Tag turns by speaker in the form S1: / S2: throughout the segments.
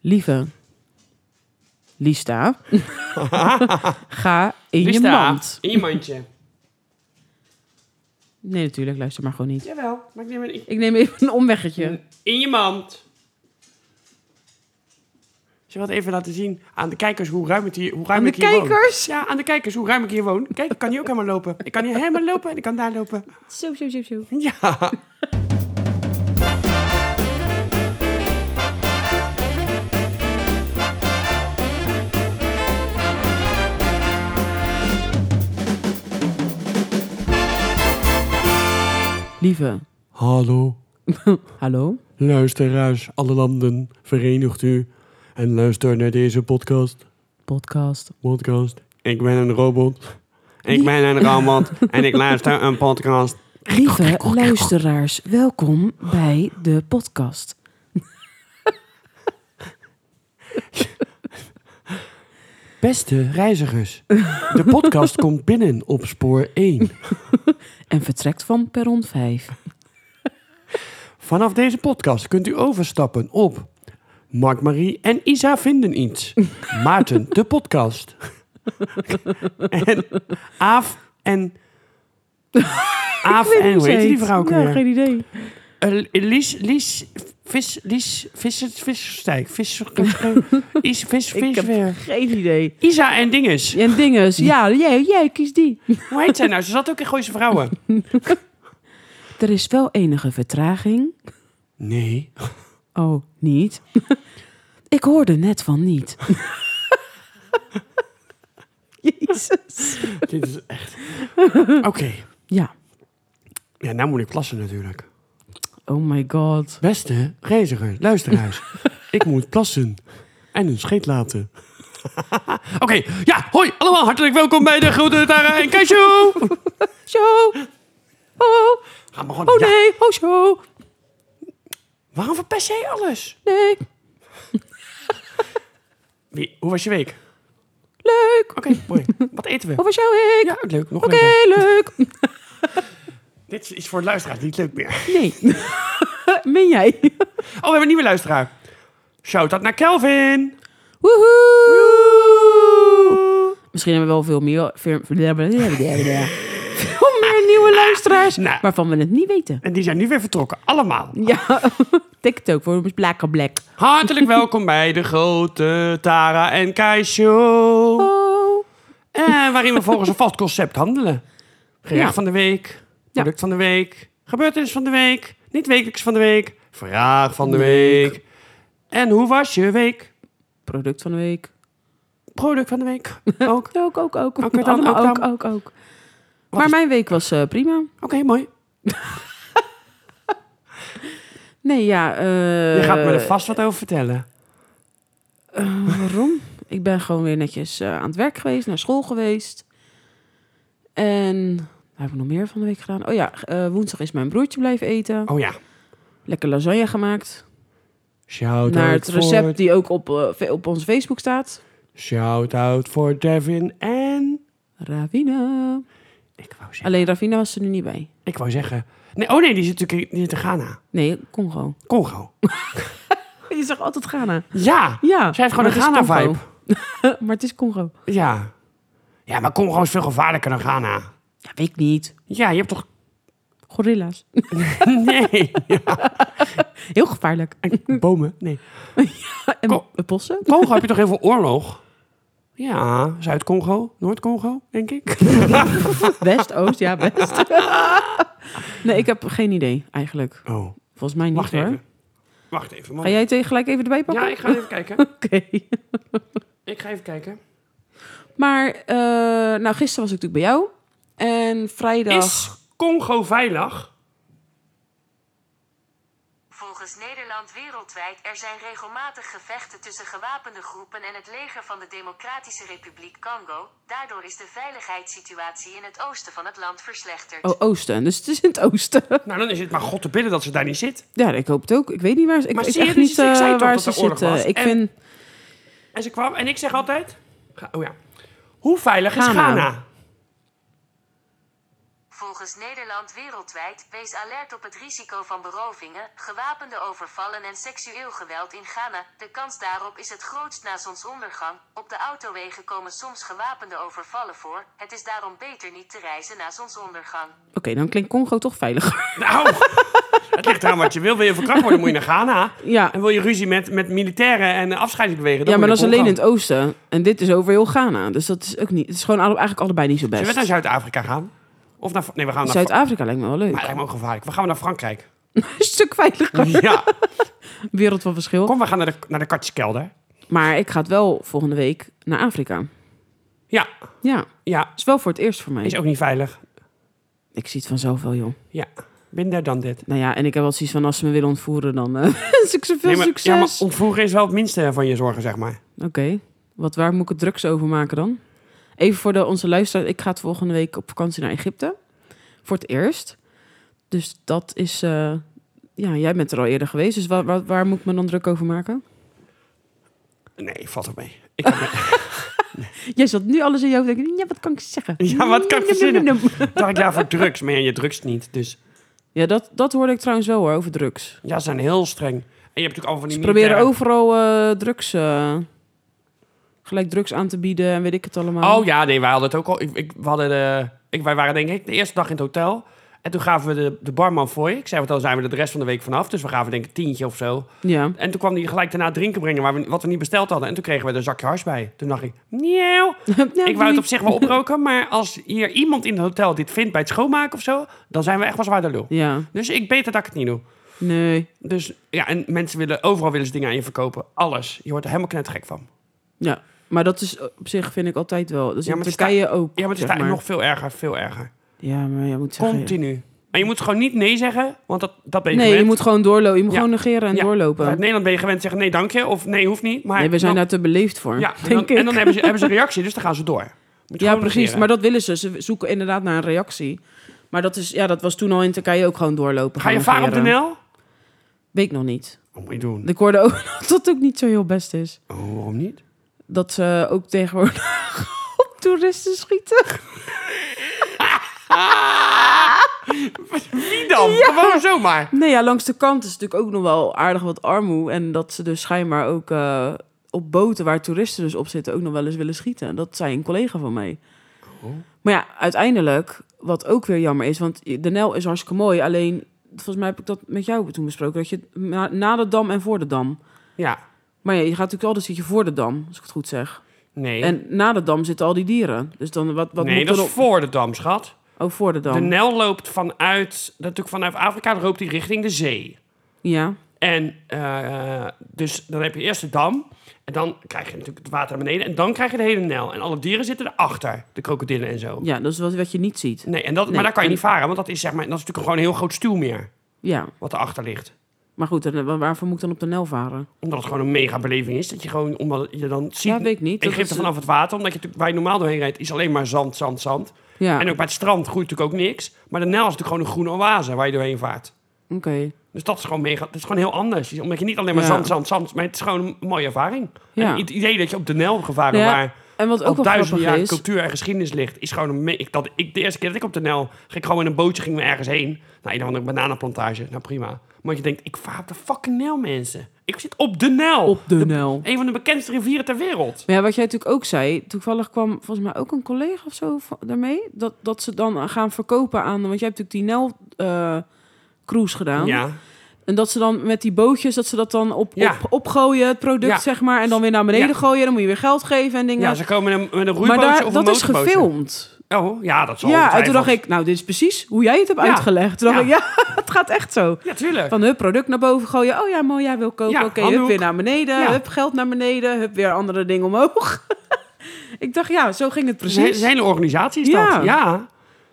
S1: Lieve, Lista, ga in je
S2: Lista,
S1: mand.
S2: In je mandje.
S1: Nee, natuurlijk, luister maar gewoon niet.
S2: Jawel, maar ik neem een...
S1: Ik neem even een omweggetje.
S2: In je mand. Ze wil even laten zien aan de kijkers hoe ruim, het hier, hoe ruim
S1: Aan de
S2: ik hier
S1: kijkers?
S2: woon. Ja, aan de kijkers hoe ruim ik hier woon. Kijk, ik kan hier ook helemaal lopen. Ik kan hier helemaal lopen en ik kan daar lopen.
S1: Zo, zo, zo, zo.
S2: Ja.
S1: Lieve,
S2: Hallo,
S1: hallo?
S2: luisteraars, alle landen, verenigt u en luister naar deze podcast.
S1: Podcast.
S2: podcast. Ik ben een robot. Ik ben een robot en ik luister een podcast.
S1: Lieve luisteraars, welkom bij de podcast.
S2: Beste reizigers, de podcast komt binnen op spoor 1.
S1: En vertrekt van perron 5.
S2: Vanaf deze podcast kunt u overstappen op Mark Marie en Isa vinden iets. Maarten, de podcast. en Aaf en... Aaf en hoe heet die vrouw ook
S1: Ja,
S2: weer?
S1: nou, geen idee.
S2: Eh, Lies, Lies, vis, Lies, visser, visserstijk, visser, is, vis,
S1: Ik
S2: vis
S1: heb
S2: weer.
S1: geen idee.
S2: Isa en dinges.
S1: En dinges, ja, jij, jij, kies die.
S2: Hoe heet zij nou? Ze zat ook in Gooise Vrouwen.
S1: Er is wel enige vertraging.
S2: Nee.
S1: Oh, niet? Ik hoorde net van niet. Jezus.
S2: Dit is echt... Oké.
S1: Ja.
S2: Ja, nou moet ik plassen natuurlijk.
S1: Oh my god.
S2: Beste reiziger, luisteraars. ik moet plassen. En een scheet laten. Oké, ja, hoi allemaal. Hartelijk welkom bij de Grote Tara en Cashew.
S1: Zo. Oh,
S2: Ga maar gewoon.
S1: oh
S2: ja,
S1: nee. Oh zo.
S2: waarom verpest jij alles?
S1: Nee.
S2: Wie, hoe was je week?
S1: Leuk.
S2: Oké, mooi. Wat eten we?
S1: Hoe was jouw week?
S2: Ja, leuk. Nog
S1: Oké,
S2: leuk.
S1: leuk.
S2: Dit is voor de luisteraars niet leuk meer.
S1: Nee. Min jij?
S2: Oh, we hebben een nieuwe luisteraar. Shout-out naar Kelvin.
S1: Woehoe. Misschien hebben we wel veel meer, veel, veel meer nieuwe luisteraars
S2: Nou.
S1: waarvan we het niet weten.
S2: En die zijn nu weer vertrokken. Allemaal.
S1: Ja, TikTok voor ons black on black.
S2: Hartelijk welkom bij de grote Tara en Kai Show.
S1: Oh.
S2: Eh, waarin we volgens een vast concept handelen. Gerecht
S1: Ja.
S2: van de week, product van de week, gebeurtenis van de week, niet wekelijks van de week, vraag van de week. En hoe was je week?
S1: Product van de week.
S2: Product van de week ook. Oké,
S1: Ook, ook, ook.
S2: Ook weer dan,
S1: Allemaal
S2: ook
S1: ook,
S2: dan.
S1: ook, ook. Maar mijn week was eh, prima.
S2: mooi.
S1: Nee, ja. eh,
S2: Je gaat me er vast wat over vertellen.
S1: eh, waarom? Ik ben gewoon weer netjes eh, aan het werk geweest, naar school geweest. En wat heb ik nog meer van de week gedaan? Oh ja, eh, woensdag is mijn broertje blijven eten.
S2: Oh ja.
S1: Lekker lasagne gemaakt.
S2: Shout
S1: naar
S2: out
S1: het
S2: voor,
S1: recept die ook op, eh, fe- op onze Facebook staat.
S2: Shout out voor Devin en.
S1: Ravina.
S2: Ik wou zeggen.
S1: Alleen Ravina was er nu niet bij.
S2: Ik wou zeggen. Nee, oh nee, die zit natuurlijk in, die zit in Ghana.
S1: Nee, Congo.
S2: Congo.
S1: Je zegt altijd Ghana.
S2: Ja.
S1: Ja.
S2: Zij heeft gewoon
S1: maar het is
S2: een Ghana-vibe.
S1: Congo. maar het is Congo.
S2: Ja. Ja, maar Congo is veel gevaarlijker dan Ghana.
S1: Ja, weet ik niet.
S2: Ja, je hebt toch.
S1: Gorilla's.
S2: Nee.
S1: Heel gevaarlijk.
S2: Bomen? Nee.
S1: En
S2: Ko-
S1: bossen?
S2: Congo heb je toch heel veel oorlog? Ja, Zuid-Congo, Noord-Congo, denk ik.
S1: West, Oost, ja, West. nee, ik heb geen idee eigenlijk.
S2: Oh,
S1: Volgens mij niet
S2: wacht
S1: hoor.
S2: even. Wacht even, man.
S1: Ga jij het gelijk even erbij pakken?
S2: Ja, ik ga even kijken.
S1: Oké.
S2: Ik ga even kijken.
S1: Maar, eh, nou, gisteren was ik natuurlijk bij jou. En vrijdag...
S2: Is Congo veilig?
S3: Volgens Nederland wereldwijd er zijn regelmatig gevechten tussen gewapende groepen en het leger van de Democratische Republiek Congo. Daardoor is de veiligheidssituatie in het oosten van het land verslechterd.
S1: Oh, Oosten. Dus het is in het Oosten.
S2: Nou, dan is het maar God te bidden dat ze daar niet zit.
S1: ja, ik hoop het ook. Ik weet niet waar ze... Ik
S2: Maar
S1: weet
S2: zie je,
S1: echt
S2: dus
S1: niet
S2: ik zei
S1: eh,
S2: toch
S1: waar
S2: dat
S1: ze
S2: er oorlog
S1: zitten.
S2: was?
S1: Ik
S2: En-
S1: vind...
S2: En ze kwam en ik zeg altijd... Ga- Oh ja. Hoe veilig is
S1: Ghana.
S2: Ghana?
S3: Volgens Nederland wereldwijd wees alert op het risico van berovingen, gewapende overvallen en seksueel geweld in Ghana. De kans daarop is het grootst na zonsondergang. Op de autowegen komen soms gewapende overvallen voor. Het is daarom beter niet te reizen na zonsondergang.
S1: Oké, dan klinkt Congo toch veiliger.
S2: Nou, het ligt eraan wat je wil. Wil je verkracht worden, moet je naar Ghana.
S1: Ja,
S2: En wil je ruzie met, met militairen en eh, afscheidingsbewegen? dan
S1: ja maar
S2: moet
S1: dat is
S2: je
S1: alleen in
S2: naar
S1: het oosten. En dit is over heel Ghana. Dus dat is ook niet. Het is gewoon alle- eigenlijk allebei niet zo
S2: Congo. Zullen we
S1: best.
S2: naar Zuid-Afrika gaan? Of naar... Nee, we gaan naar... Fra-
S1: Zuid-Afrika lijkt me wel
S2: Maar het
S1: leuk.
S2: lijkt me ook gevaarlijk. We gaan naar Frankrijk.
S1: Een stuk veiliger.
S2: Ja.
S1: Wereld van verschil.
S2: Kom, we gaan naar de, naar de katjeskelder.
S1: Maar ik ga het wel volgende week naar Afrika.
S2: Ja.
S1: Ja,
S2: Ja.
S1: is wel voor het eerst voor mij.
S2: Is ook niet veilig.
S1: Ik zie het vanzelf wel, joh.
S2: Ja. Minder dan dit.
S1: Nou ja, en ik heb wel zoiets van als ze me willen ontvoeren, dan eh wens ik ze veel
S2: maar,
S1: succes.
S2: Ja, maar ontvoeren is wel het minste van je zorgen, zeg maar.
S1: Oké, wat waar moet ik het drugs over maken dan? Even voor de, onze luisteraars, ik ga het volgende week op vakantie naar Egypte. Voor het eerst. Dus dat is, eh, ja, jij bent er al eerder geweest, dus waar, waar, waar moet ik me dan druk over maken?
S2: Nee, valt ook mee. Ik heb
S1: Jij zat nu alles in je hoofd denken, ja, wat kan ik zeggen?
S2: Ja, wat kan ik verzinnen?
S1: Num, num, num.
S2: dacht ik daarvoor drugs, maar ja, je drugs niet. Dus
S1: Ja, dat, dat hoorde ik trouwens wel hoor, over drugs.
S2: ja, ze zijn heel streng. En je hebt natuurlijk al van die
S1: Ze proberen
S2: militairen-
S1: overal eh, drugs, eh, gelijk drugs aan te bieden en weet ik het allemaal.
S2: Oh ja, nee, wij hadden het ook al. Ik, ik, we hadden de, ik, wij waren denk ik de eerste dag in het hotel. En toen gaven we de, de barman voor. Ik zei, want dan zijn we er de rest van de week vanaf. Dus we gaven denk ik een tientje of zo.
S1: Ja.
S2: En toen kwam hij gelijk daarna drinken brengen waar we, wat we niet besteld hadden. En toen kregen we er een zakje hars bij. Toen dacht ik, nieuw.
S1: Ja,
S2: Ik wou het op zich wel oproken. Maar als hier iemand in het hotel dit vindt bij het schoonmaken of zo... dan zijn we echt wel zwaar de lul.
S1: Ja,
S2: Dus ik beter dat ik het niet doe.
S1: nee.
S2: Dus ja, en mensen willen... Overal willen ze dingen aan je verkopen. Alles. Je wordt er helemaal knettergek van.
S1: Ja, maar dat is op zich vind ik altijd wel. Dus
S2: Ja,
S1: in
S2: maar het
S1: Turkije ook.
S2: Ja, maar het is
S1: zeg
S2: daar nog veel erger, veel erger.
S1: Ja, maar je moet zeggen...
S2: Continu. En je moet gewoon niet nee zeggen, want dat, dat ben je
S1: Nee,
S2: gewend.
S1: je moet gewoon doorlopen. Je moet
S2: Ja.
S1: gewoon negeren en
S2: Ja. Uit
S1: doorlopen.
S2: Nederland ben je gewend te zeggen nee, dank je. Of nee, hoeft niet. Maar
S1: Nee, we zijn
S2: dan,
S1: daar te beleefd voor,
S2: Ja, en
S1: denk
S2: dan,
S1: ik.
S2: en dan hebben, ze, hebben ze een reactie, dus dan gaan ze door. Moet je
S1: ja,
S2: gewoon
S1: precies.
S2: negeren.
S1: Maar dat willen ze. Ze zoeken inderdaad naar een reactie. Maar dat, is, ja, dat was toen al in Turkije ook gewoon doorlopen.
S2: Ga je
S1: gewoon
S2: varen op de
S1: negeren.
S2: NL?
S1: Weet ik nog niet.
S2: Wat moet je doen?
S1: Ik hoorde ook dat dat ook niet zo heel best is.
S2: Oh, waarom niet?
S1: Dat ze ook tegenwoordig op toeristen schieten.
S2: Wie dan? Gewoon zomaar.
S1: Nee, ja, langs de kant is natuurlijk ook nog wel aardig wat armoe. En dat ze dus schijnbaar ook eh, op boten waar toeristen dus op zitten... ook nog wel eens willen schieten. Dat zei een collega van mij. Maar ja, uiteindelijk, wat ook weer jammer is... want de Nel is hartstikke mooi, alleen... volgens mij heb ik dat met jou toen besproken... dat je na, na de dam en voor de dam...
S2: Ja,
S1: maar ja, je gaat natuurlijk altijd zit je voor de dam, als ik het goed zeg.
S2: nee.
S1: En na de dam zitten al die dieren. Dus dan wat, wat
S2: nee,
S1: moet
S2: dat
S1: er
S2: is
S1: op-
S2: voor de dam, schat.
S1: Oh, voor de dam.
S2: De NL loopt vanuit, natuurlijk vanuit Afrika, dan loopt die richting de zee.
S1: Ja,
S2: En eh, dus dan heb je eerst de dam. En dan krijg je natuurlijk het water naar beneden. En dan krijg je de hele Nijl. En alle dieren zitten erachter. De krokodillen en zo.
S1: ja, dat is wat, wat je niet ziet.
S2: Nee, en dat,
S1: Nee,
S2: maar daar kan je
S1: en-
S2: niet varen. Want dat is, zeg maar, dat is natuurlijk gewoon een heel groot stuwmeer.
S1: Ja,
S2: Wat erachter ligt.
S1: maar goed, en eh, wa- waarvoor moet ik dan op de Nel varen?
S2: Omdat het gewoon een mega beleving is. Dat je gewoon, omdat je dan ziet...
S1: Ja, weet ik niet. Dat
S2: Egypte
S1: is-
S2: vanaf het water. Omdat je natuurlijk, waar je normaal doorheen rijdt, is alleen maar zand, zand, zand.
S1: Ja,
S2: En ook bij het strand groeit natuurlijk ook niks. Maar de Nijl is natuurlijk gewoon een groene oase waar je doorheen vaart.
S1: oké.
S2: Dus dat is gewoon mega. Dat is gewoon heel anders. Omdat je niet alleen maar
S1: Ja.
S2: zand, zand, zand. Maar het is gewoon een mooie ervaring.
S1: Ja.
S2: En het idee dat je op de Nel gevaren
S1: Ja,
S2: waar
S1: En wat
S2: al
S1: ook wel
S2: duizenden
S1: grappig
S2: jaar
S1: is...
S2: cultuur en geschiedenis ligt, is gewoon een. me- Ik, dat, ik, de eerste keer dat ik op de Nel ging, gewoon in een bootje gingen we ergens heen. Naar een of andere bananenplantage. Nou prima. Maar dat je denkt, ik vaar op de fucking Nel, mensen. Ik zit op de Nel.
S1: Op de Nijl.
S2: Een van de bekendste rivieren ter wereld.
S1: Maar ja, wat jij natuurlijk ook zei, toevallig kwam volgens mij ook een collega of zo va- daarmee, dat, dat ze dan gaan verkopen aan, want jij hebt natuurlijk die Nel eh, cruise gedaan.
S2: Ja.
S1: En dat ze dan met die bootjes, dat ze dat dan op,
S2: Ja.
S1: op, opgooien, het product
S2: Ja.
S1: zeg maar, en dan weer naar beneden
S2: Ja.
S1: gooien, dan moet je weer geld geven en dingen.
S2: ja, ze komen met een, met
S1: maar
S2: een roeibootje
S1: daar,
S2: of
S1: dat
S2: een
S1: is
S2: motorbootje.
S1: gefilmd.
S2: Oh, ja, dat zal
S1: Ja, en toen
S2: ongetwijfeld.
S1: dacht ik, nou, dit is precies hoe jij het hebt
S2: Ja.
S1: uitgelegd. Toen dacht
S2: Ja.
S1: ik, ja, het gaat echt zo.
S2: Ja, tuurlijk.
S1: Van hup, product naar boven gooien. Oh ja, mooi, jij wil kopen.
S2: Ja,
S1: Oké, hup,
S2: handdoek.
S1: weer naar beneden.
S2: Ja.
S1: Hup, geld naar beneden. Hup, weer andere dingen omhoog. ik dacht, ja, zo ging het
S2: Precies.
S1: precies.
S2: Zijn hele organisatie is
S1: Ja.
S2: dat. Ja.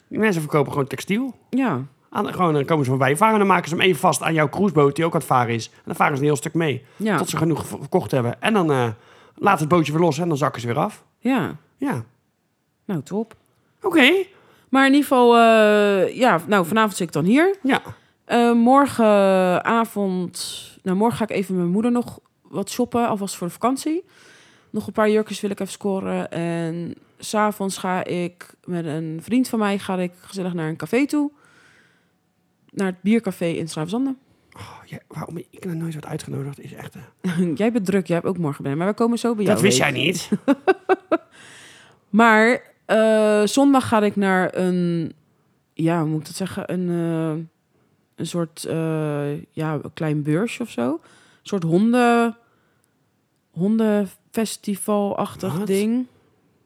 S2: Die mensen verkopen gewoon textiel.
S1: Ja,
S2: Aan, gewoon, dan komen ze voorbij varen en dan maken ze hem even vast aan jouw cruiseboot die ook aan het varen is. En dan varen ze een heel stuk mee.
S1: Ja.
S2: Tot ze genoeg ver- verkocht hebben. En dan eh laten het bootje weer los en dan zakken ze weer af.
S1: ja.
S2: Ja.
S1: Nou, top.
S2: Oké.
S1: Maar in ieder geval, eh, ja, nou, vanavond zit ik dan hier.
S2: Ja.
S1: Eh, morgenavond, nou, morgen ga ik even met mijn moeder nog wat shoppen, alvast voor de vakantie. Nog een paar jurkjes wil ik even scoren. En S'avonds ga ik met een vriend van mij ga ik gezellig naar een café toe. Naar het biercafé in Slaafzanden.
S2: Oh, ja, waarom ik nog nooit word uitgenodigd is echt... eh,
S1: jij bent druk, jij hebt ook morgen ben. Maar we komen zo bij jou.
S2: dat wist
S1: weet
S2: jij
S1: je.
S2: niet.
S1: Maar eh, zondag ga ik naar een, ja, hoe moet ik dat zeggen? Een, eh, een soort, eh, ja, een klein beursje of zo. Een soort honden, hondenfestivalachtig
S2: Wat?
S1: ding.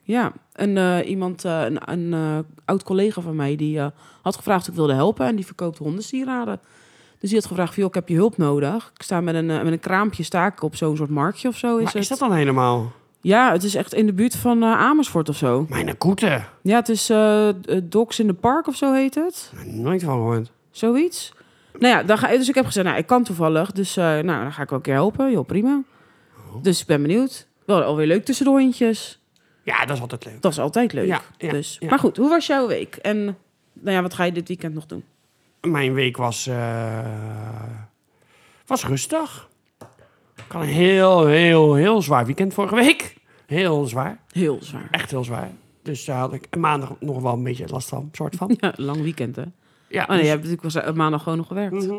S1: Ja, en eh, iemand, eh, een, een eh, oud collega van mij, die eh, had gevraagd of ik wilde helpen. En die verkoopt hondensieraden. Dus die had gevraagd, van, joh, ik heb je hulp nodig. Ik sta met een, eh, met een kraampje, sta ik op zo'n soort marktje of zo. Is
S2: Maar
S1: het.
S2: is dat dan helemaal?
S1: Ja, het is echt in de buurt van eh, Amersfoort of zo.
S2: Mijn koete.
S1: Ja, het is eh, eh, Docs in the Park of zo heet het.
S2: Nooit van gehoord.
S1: Zoiets. Nou ja, dan ga, dus ik heb gezegd, nou, ik kan toevallig. Dus eh, nou, dan ga ik wel een keer helpen. Joh, prima.
S2: Oh.
S1: Dus ik ben benieuwd. Wel alweer leuk tussendoortjes.
S2: Ja, dat is altijd leuk.
S1: Dat is altijd leuk.
S2: Ja, ja,
S1: dus.
S2: ja.
S1: Maar goed, hoe was jouw week? En nou ja, wat ga je dit weekend nog doen?
S2: Mijn week was, eh, was rustig. Ik had een heel, heel, heel zwaar weekend vorige week. Heel zwaar.
S1: Heel zwaar.
S2: Echt heel zwaar. Dus daar had ik maandag nog wel een beetje last van, soort van.
S1: Ja, lang weekend, hè? Oh
S2: Ja,
S1: nee, je
S2: dus,
S1: hebt natuurlijk wel z- maandag gewoon nog gewerkt. Nou,
S2: Mhm.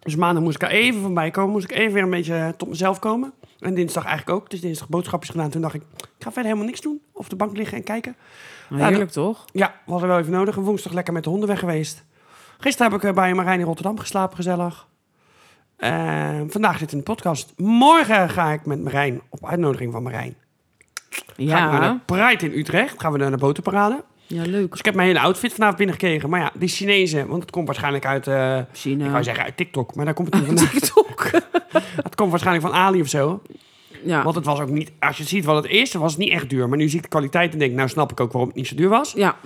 S2: dus maandag moest ik er even van bij komen. Moest ik even weer een beetje eh, tot mezelf komen. En dinsdag eigenlijk ook. Dus dinsdag boodschapjes gedaan. Toen dacht ik, ik ga verder helemaal niks doen. Of op de bank liggen en kijken.
S1: Maar
S2: Ja,
S1: heerlijk, toch?
S2: Ja, we hadden wel even nodig. En Woensdag lekker met de honden weg geweest. Gisteren heb ik eh, bij Marijn in Rotterdam geslapen, gezellig. En vandaag zit in de podcast. Morgen ga ik met Marijn, op uitnodiging van Marijn, ga ik naar de
S1: Ja.
S2: Pride in Utrecht. Gaan we naar de boterparade.
S1: Ja,
S2: Dus
S1: leuk.
S2: ik heb mijn hele outfit vanavond binnengekregen. Maar ja, die Chinezen, want het komt waarschijnlijk uit, eh ik
S1: China.
S2: wou zeggen uit TikTok. Maar daar komt het niet vandaan.
S1: TikTok.
S2: het komt waarschijnlijk van Ali of zo.
S1: ja.
S2: Want het was ook niet, als je ziet wat het eerste was, het niet echt duur. Maar nu zie ik de kwaliteit en denk, nou snap ik ook waarom het niet zo duur was.
S1: ja,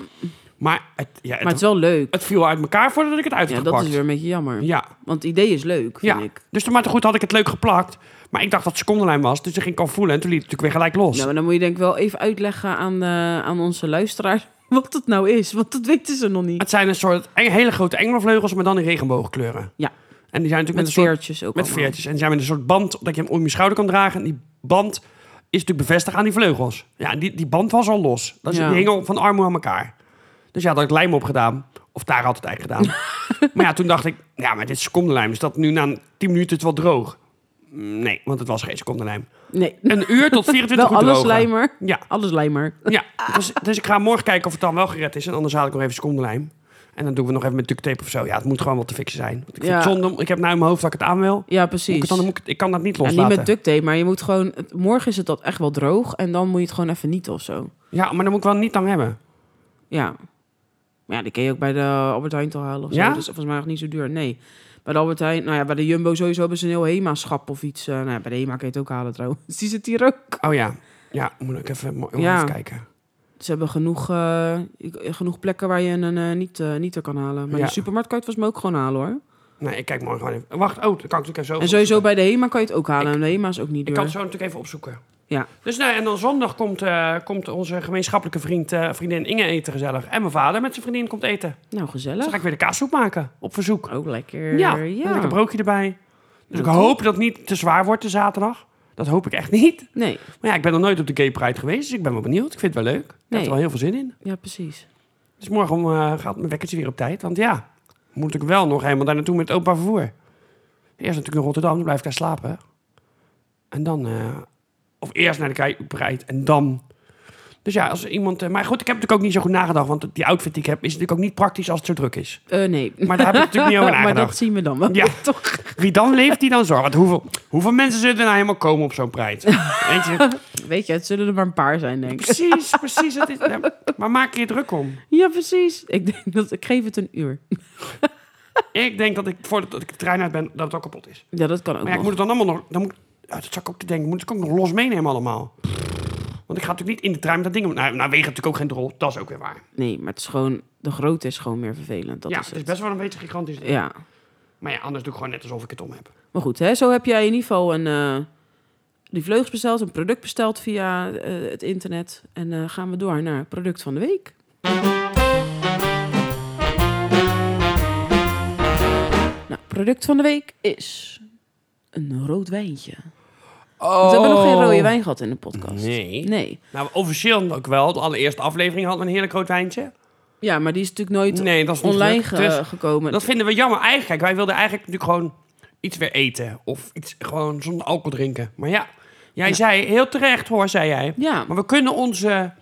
S2: Maar het, ja,
S1: maar het is
S2: het,
S1: wel leuk.
S2: het viel uit elkaar voordat ik het uit had
S1: Ja, dat
S2: gepakt.
S1: is weer een beetje jammer.
S2: Ja,
S1: Want het idee is leuk, vind
S2: ja.
S1: ik.
S2: Dus toen maar te goed had ik het leuk geplakt. Maar ik dacht dat het secondenlijn was. Dus ik ging al voelen. En toen liet het natuurlijk weer gelijk los.
S1: Nou, maar dan moet je denk ik wel even uitleggen aan, eh, aan onze luisteraar wat het nou is. Want dat weten ze nog niet.
S2: Het zijn een soort eng- hele grote engelvleugels, maar dan in regenboogkleuren.
S1: Ja,
S2: En die zijn natuurlijk met,
S1: met
S2: een soort,
S1: veertjes ook
S2: met
S1: allemaal.
S2: veertjes. En die zijn met een soort band dat je hem om je schouder kan dragen. En die band is natuurlijk bevestigd aan die vleugels. Ja, en die, die band was al los. Dat is,
S1: Ja.
S2: Die hing al van armoe aan elkaar. Dus ja, dat had ik lijm op gedaan. Of daar had het eigenlijk gedaan. maar ja, toen dacht ik, ja, maar dit is secondenlijm. Is dat nu na 10 minuten het wel droog? Mm, Nee, want het was geen secondenlijm.
S1: Nee,
S2: Een uur tot 24
S1: wel
S2: uur
S1: alles
S2: drogen.
S1: lijmer.
S2: Ja,
S1: Alles lijmer.
S2: ja. Dus, dus ik ga morgen kijken of het dan wel gered is. En anders haal ik nog even secondenlijm. En dan doen we nog even met duct tape of zo. Ja, het moet gewoon wel te fixen zijn. Want ik vind
S1: Ja.
S2: het zonde. om- Ik heb nou in mijn hoofd dat ik het aan wil.
S1: Ja,
S2: Moet ik,
S1: precies.
S2: het dan, moet ik, het- ik kan dat niet
S1: Ja,
S2: loslaten.
S1: niet met duct tape, maar je moet gewoon... het- Morgen is het dat echt wel droog en dan moet je het gewoon even niet of zo.
S2: Ja, maar dan moet ik wel niet lang hebben.
S1: Ja. Maar ja, die kun je ook bij de Albert Heijn toch halen of zo.
S2: Ja?
S1: Dat is volgens mij nog niet zo duur. Nee. Bij de Albert Heijn... Nou ja, bij de Jumbo sowieso hebben ze een heel HEMA-schap of iets. eh, nou ja, bij de HEMA kun je het ook halen trouwens. Die zit hier ook.
S2: Oh ja. Ja, moet ik even, mo-
S1: Ja.
S2: even kijken.
S1: Ze hebben genoeg, eh, ik- genoeg plekken waar je een eh, niet, eh, niet er kan halen. Maar
S2: Ja.
S1: de supermarkt kan je het volgens mij ook gewoon halen hoor.
S2: Nee, ik kijk morgen gewoon even. Wacht, oh, dan kan ik natuurlijk even zo
S1: En
S2: opzoeken.
S1: sowieso bij de HEMA kan je het ook halen. en de HEMA is ook niet
S2: Ik
S1: duur.
S2: kan het zo natuurlijk even opzoeken.
S1: Ja.
S2: Dus nou, en dan zondag komt, eh, komt onze gemeenschappelijke vriend, eh, vriendin Inge eten gezellig. En mijn vader met zijn vriendin komt eten.
S1: Nou,
S2: Dus
S1: gezellig.
S2: dan ga ik weer de kaassoep maken, op verzoek.
S1: Ook lekker.
S2: Ja,
S1: Ja.
S2: en ik een broodje erbij. Dus ik
S1: Nou,
S2: hoop dat het niet te zwaar wordt de zaterdag. Dat hoop ik echt niet.
S1: Nee,
S2: Maar ja, ik ben nog nooit op de Gay Pride geweest, dus ik ben wel benieuwd. Ik vind het wel leuk. Ik heb
S1: Nee.
S2: er wel heel veel zin in.
S1: ja precies.
S2: Dus morgen om, eh, gaat mijn wekkertje weer op tijd. Want ja, moet ik wel nog helemaal daar naartoe met het openbaar vervoer. Eerst natuurlijk in Rotterdam, dan blijf ik daar slapen. En dan... eh, of eerst naar de Gay Pride en dan... Dus ja, als iemand... eh, maar goed, ik heb natuurlijk ook niet zo goed nagedacht. Want die outfit die ik heb is natuurlijk ook niet praktisch als het zo druk is.
S1: Eh, nee.
S2: Maar daar heb ik natuurlijk niet over
S1: maar
S2: nagedacht.
S1: dat zien we dan wel.
S2: Ja.
S1: toch?
S2: Wie dan leeft, die dan zorgt. Want hoeveel, hoeveel mensen zullen er nou helemaal komen op zo'n prijs? Weet je?
S1: Weet je, het zullen er maar een paar zijn, denk ik.
S2: Precies, precies. Het is, ja, maar maak je je druk om.
S1: Ja, precies. Ik denk dat ik geef het een uur.
S2: Ik denk dat ik, voordat ik de trein uit ben, dat het al kapot is.
S1: Ja, dat kan ook.
S2: Maar ja, ik
S1: nog.
S2: moet het dan allemaal nog... Dan moet, ja, dat zat ik ook te denken. Moet ik ook nog los meenemen allemaal? Want ik ga natuurlijk niet in de trein met dat ding... om- Nou, nou wegen natuurlijk ook geen rol. Dat is ook weer waar.
S1: Nee, maar het is gewoon. De grootte is gewoon meer vervelend. Dat
S2: ja,
S1: is
S2: het is
S1: het.
S2: best wel een beetje gigantisch.
S1: Ja.
S2: Maar ja, anders doe ik gewoon net alsof ik het om heb.
S1: Maar goed, hè, zo heb jij in ieder geval een, eh, die vleugels besteld, een product besteld via eh, het internet. En eh, gaan we door naar het product van de week. Nou, product van de week is een rood wijntje.
S2: Oh.
S1: Want we hebben nog geen rode wijn gehad in de podcast.
S2: Nee.
S1: Nee.
S2: Nou, officieel ook wel. De allereerste aflevering hadden we een heerlijk rood wijntje.
S1: maar, ja, maar die is natuurlijk nooit
S2: Nee, dat is niet
S1: online
S2: gelukt.
S1: ge-
S2: Dus
S1: gekomen.
S2: Dat vinden we jammer eigenlijk. Kijk, wij wilden eigenlijk natuurlijk gewoon iets weer eten. Of iets gewoon zonder alcohol drinken. Maar ja, jij zei heel terecht hoor, zei jij.
S1: Ja.
S2: Maar we kunnen onze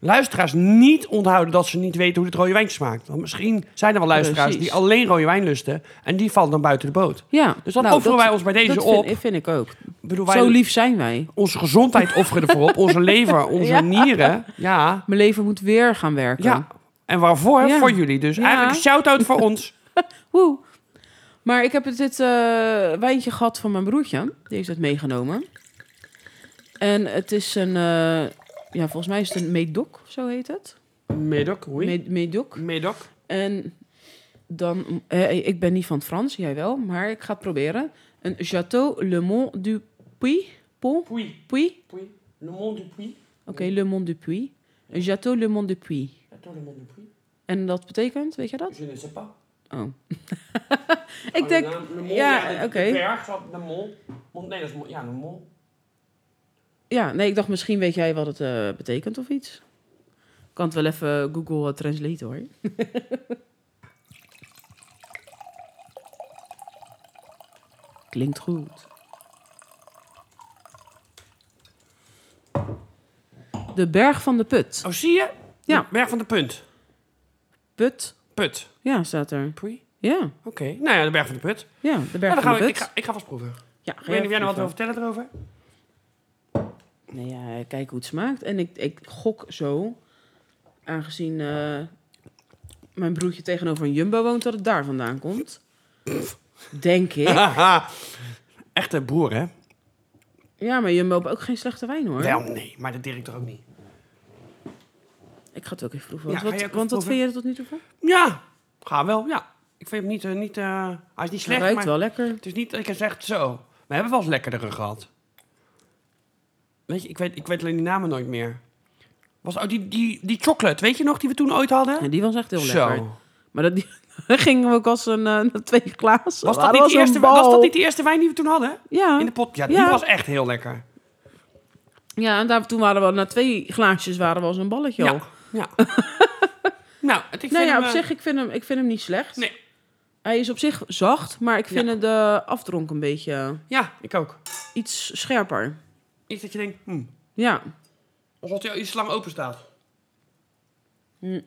S2: luisteraars niet onthouden dat ze niet weten hoe het rode wijn smaakt. Want misschien zijn er wel luisteraars
S1: Precies.
S2: die alleen rode wijn lusten. En die vallen dan buiten de boot.
S1: ja. Nou,
S2: Dus dan offeren wij ons bij deze
S1: dat vind-
S2: op.
S1: Dat vind ik ook.
S2: Ik bedoel, wij
S1: Zo lief zijn wij.
S2: onze gezondheid offeren ervoor op. Onze lever, onze
S1: Ja.
S2: nieren. Ja.
S1: Mijn leven moet weer gaan werken.
S2: Ja. En waarvoor?
S1: Ja.
S2: Voor jullie. Dus
S1: Ja.
S2: eigenlijk shout-out voor ons.
S1: Woe. Maar ik heb het- dit eh, wijntje gehad van mijn broertje. Die heeft het meegenomen. En het is een... eh, ja, volgens mij is het een medoc, zo heet het.
S2: Medoc, oui.
S1: Med- medoc.
S2: Medoc.
S1: En dan... eh, ik ben niet van het Frans, jij wel. Maar ik ga het proberen. Een Château Le Mont du Puy. Pont?
S2: Puy.
S1: Puy?
S2: Puy. Le Monde du Puy.
S1: Oké, Le Mont du Puy. Een Château Le Mont du Puy.
S2: Attends, Le Monde du Puy.
S1: En dat betekent, weet je dat?
S2: Je ne sais pas.
S1: Oh. ik denk... Ja, oké.
S2: berg van Le Monde. Nee, dat is Ja, Le Monde.
S1: Ja, nee, ik dacht misschien weet jij wat het eh, betekent of iets. Ik kan het wel even Google
S2: eh,
S1: Translate hoor. Klinkt goed. De berg van de put.
S2: Oh, zie je?
S1: Ja.
S2: De Berg van de Punt.
S1: Put?
S2: Put.
S1: Ja, staat er.
S2: Puy.
S1: Ja,
S2: Oké. Nou ja, de Berg van de Put.
S1: ja de
S2: Ja,
S1: berg
S2: Nou,
S1: van
S2: dan gaan
S1: de
S2: we, ik,
S1: put.
S2: ga, ik ga vast proeven. Ik
S1: Ja, ga
S2: weet niet of jij
S1: even
S2: nog wat
S1: proeven.
S2: wil vertellen erover.
S1: Nou ja, kijk hoe het smaakt. En ik, ik gok zo, aangezien eh, mijn broertje tegenover een Jumbo woont, dat het daar vandaan komt. Denk ik.
S2: Haha. Echte boer, hè?
S1: Ja, maar Jumbo heeft ook geen slechte wijn hoor.
S2: Wel, nee. Maar de directeur ook niet.
S1: Ik ga het ook even proeven. Want,
S2: Ja, ga
S1: wat,
S2: je ook
S1: want wat
S2: proeven?
S1: vind je er tot nu toe van?
S2: Ja, ga wel, ja. Ik vind hem niet... eh, niet eh, hij
S1: Nou,
S2: is niet
S1: Hij
S2: slecht,
S1: ruikt
S2: maar
S1: wel lekker.
S2: het is niet dat je zegt zo. We hebben wel eens lekkerdere gehad. Weet je, ik weet, ik weet alleen die namen nooit meer. Was, oh, die, die, die chocolate, weet je nog, die we toen ooit hadden?
S1: En die was echt heel
S2: zo.
S1: lekker. Maar dat die, gingen we ook als een eh, twee glazen. Maar
S2: Was dat, niet
S1: een
S2: die eerste,
S1: bal.
S2: was dat niet die eerste wijn die we toen hadden?
S1: Ja.
S2: In de pot? Ja, die
S1: Ja.
S2: was echt heel lekker.
S1: ja, en daar, toen waren we na twee glaasjes waren we als een balletje al.
S2: Ja. ja. nou, het, ik vind
S1: nou ja,
S2: hem,
S1: op
S2: eh,
S1: zich, ik vind, hem, ik vind hem niet slecht.
S2: Nee.
S1: Hij is op zich zacht, maar ik vind
S2: Ja.
S1: de afdronk een beetje
S2: Ja, ik ook.
S1: iets scherper.
S2: Niet dat je denkt, hm,
S1: Ja.
S2: alsof hij al iets lang open staat.
S1: Hmm.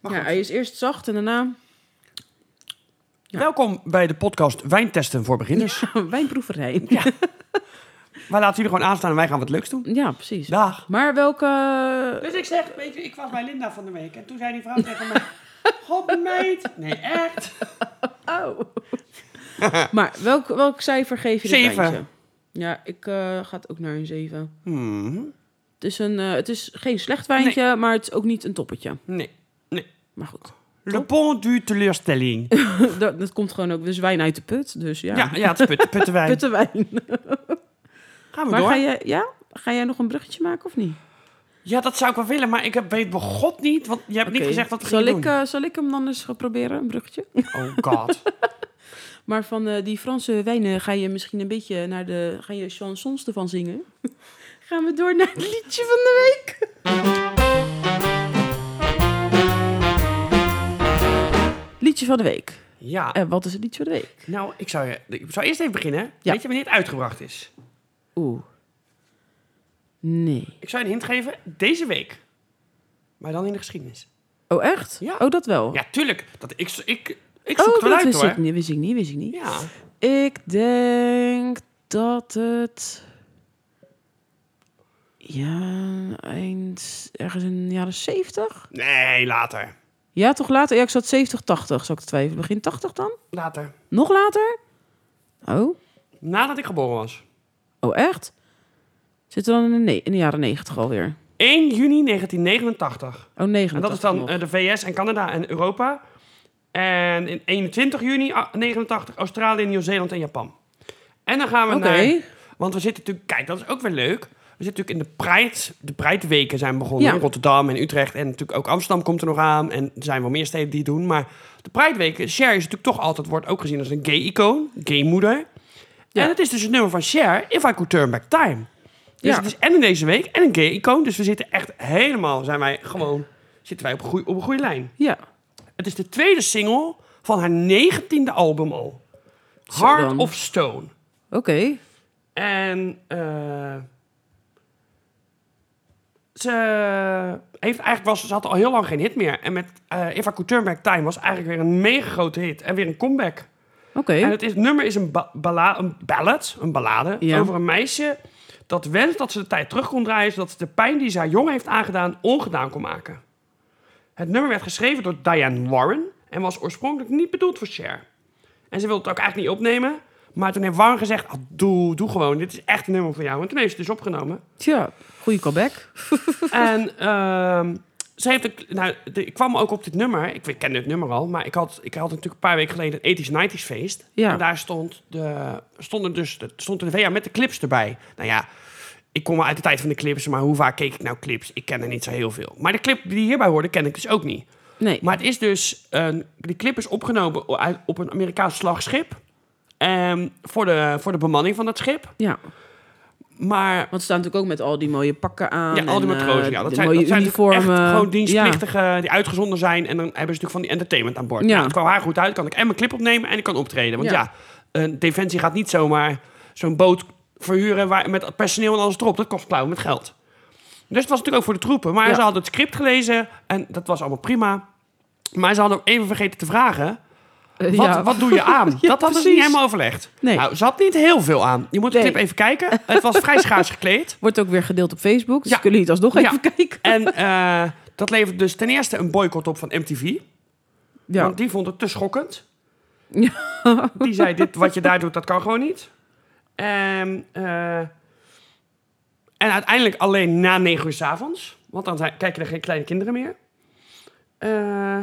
S2: Maar
S1: ja
S2: goed.
S1: hij is eerst zacht en daarna
S2: Welkom bij de podcast Wijntesten voor Beginners.
S1: wijnproeverij.
S2: Ja. Wij laten jullie gewoon aanstaan en wij gaan wat leuks doen.
S1: Ja, precies.
S2: Dag.
S1: Maar welke...
S2: Dus ik zeg, weet je, ik was bij Linda van de week en toen zei die vrouw tegen mij... God meid. Nee, echt.
S1: Oh. maar welk, welk cijfer geef je dit
S2: Zeven.
S1: wijntje? Ja, ik eh, ga het ook naar een 7.
S2: Hmm.
S1: Het is, een, eh, het is geen slecht wijntje, maar het is ook niet een toppetje.
S2: Nee, nee.
S1: Maar goed,
S2: Le pont du teleurstelling.
S1: dat, dat komt gewoon ook... Dus wijn uit de put, dus ja.
S2: Ja, ja het is put, puttenwijn.
S1: Puttenwijn.
S2: Gaan we
S1: Maar
S2: door.
S1: ga, je, ja? ga jij nog een bruggetje maken of niet?
S2: Ja, dat zou ik wel willen, maar ik heb, weet bij god niet, want je hebt niet
S1: Oké.
S2: gezegd wat we
S1: zal
S2: gingen
S1: ik,
S2: doen.
S1: eh, zal ik hem dan eens gaan proberen, een bruggetje?
S2: Oh god.
S1: Maar van eh, die Franse wijnen ga je misschien een beetje naar de... Ga je chansons ervan zingen? Gaan we door naar het liedje van de week? Liedje van de week.
S2: Ja,
S1: En wat is het liedje van de week?
S2: nou, ik zou, je, ik zou eerst even beginnen.
S1: Ja.
S2: Weet je wanneer het uitgebracht is?
S1: Oeh. Nee.
S2: Ik zou je een hint geven, deze week. Maar dan in de geschiedenis.
S1: Oh, echt?
S2: Ja.
S1: Oh, dat wel?
S2: Ja, tuurlijk. Dat, ik, ik, ik zoek
S1: oh,
S2: het wel
S1: dat
S2: uit,
S1: wist
S2: hoor.
S1: ik niet, wist ik niet, wist ik niet.
S2: Ja.
S1: Ik denk dat het. Ja, eind. ergens in de jaren 70?
S2: Nee, later.
S1: Ja, toch later? Ja, ik zat 70, 80, zou ik twijfelen. Begin 80 dan?
S2: Later.
S1: Nog later? Oh,
S2: Nadat ik geboren was.
S1: oh echt? Zitten we dan in de, ne- in de jaren 90 alweer?
S2: 1 juni 1989.
S1: Oh, 90.
S2: En dat is dan
S1: nog.
S2: eh, de VS en Canada en Europa. En in 21 juni ah, 89 Australië, Nieuw-Zeeland en Japan. En dan gaan we
S1: Oké.
S2: naar... Want we zitten natuurlijk... Kijk, dat is ook weer leuk. We zitten natuurlijk in de Pride. De Pride-weken zijn begonnen.
S1: Ja.
S2: In Rotterdam en Utrecht. En natuurlijk ook Amsterdam komt er nog aan. En er zijn wel meer steden die het doen. Maar de Pride-weken... Cher is natuurlijk toch altijd... Wordt ook gezien als een gay-icoon. Gay-moeder.
S1: Ja.
S2: En het is dus het nummer van Cher, If I Could Turn Back Time. Dus
S1: Ja.
S2: het is en in deze week en een keer icoon. Dus we zitten echt helemaal, zijn wij gewoon, zitten wij op een goeie- op een goede lijn.
S1: Ja.
S2: Het is de tweede single van haar negentiende album al.
S1: Zo
S2: Heart
S1: dan.
S2: of Stone.
S1: Oké.
S2: En eh, ze, heeft eigenlijk was, ze had al heel lang geen hit meer. En met eh If I Could Turn Back Time was eigenlijk weer een mega grote hit. En weer een comeback.
S1: Oké.
S2: En het is, nummer is een, ba balla- een ballad, een ballade,
S1: Ja.
S2: over een meisje dat wenst dat ze de tijd terug kon draaien... zodat ze de pijn die ze haar jongen heeft aangedaan ongedaan kon maken. Het nummer werd geschreven door Diane Warren en was oorspronkelijk niet bedoeld voor Cher. En ze wilde het ook eigenlijk niet opnemen, maar toen heeft Warren gezegd... "Ah, doe, doe gewoon, dit is echt een nummer voor jou. En toen heeft ze het dus opgenomen.
S1: Tja, goede callback.
S2: En ehm, ze heeft ook- nou, de- ik kwam ook op dit nummer. Ik ken dit nummer al, maar ik had, ik had natuurlijk een paar weken geleden een 80s, 90s feest.
S1: Ja.
S2: En daar stond de, stonden dus, de- stond de VA met de clips erbij. Nou ja, ik kom wel uit de tijd van de clips, maar hoe vaak keek ik nou clips? Ik ken er niet zo heel veel. Maar de clip die hierbij hoorde, ken ik dus ook niet.
S1: Nee.
S2: Maar het is dus, een, die clip is opgenomen o- uit- op een Amerikaans slagschip. Ehm, voor, de, voor de bemanning van dat schip.
S1: Ja.
S2: Maar
S1: Want ze staan natuurlijk ook met al die mooie pakken aan.
S2: Ja, al die
S1: en, eh,
S2: matrozen. Ja, dat
S1: de
S2: zijn,
S1: mooie
S2: dat zijn
S1: uniformen.
S2: echt gewoon
S1: Ja.
S2: dienstplichtigen die uitgezonden zijn. En dan hebben ze natuurlijk van die entertainment aan boord.
S1: Ja.
S2: Nou, het kwam haar goed uit. Kan ik en mijn clip opnemen en ik kan optreden. Want
S1: Ja.
S2: ja, een Defensie gaat niet zomaar zo'n boot verhuren waar, met personeel en alles erop. Dat kost klauwen met geld. Dus het was natuurlijk ook voor de troepen. Maar
S1: Ja.
S2: ze hadden het script gelezen en dat was allemaal prima. Maar ze hadden ook even vergeten te vragen...
S1: Eh,
S2: Wat,
S1: ja.
S2: wat doe je aan?
S1: Ja,
S2: dat hadden ze
S1: precies.
S2: niet helemaal overlegd.
S1: Nee.
S2: Nou, ze had niet heel veel aan. Je moet de
S1: Nee.
S2: clip even kijken. Het was vrij schaars gekleed.
S1: Wordt ook weer gedeeld op Facebook. Dus
S2: Ja.
S1: kunnen jullie het alsnog
S2: Ja.
S1: even kijken.
S2: En eh, dat levert dus ten eerste een boycott op van MTV.
S1: ja.
S2: Want die vond het te schokkend.
S1: Ja.
S2: Die zei, dit, wat je daar doet, dat kan gewoon niet. Ehm, eh, en uiteindelijk alleen na negen uur s'avonds. Want dan zijn- kijken er geen kleine kinderen meer. Eh,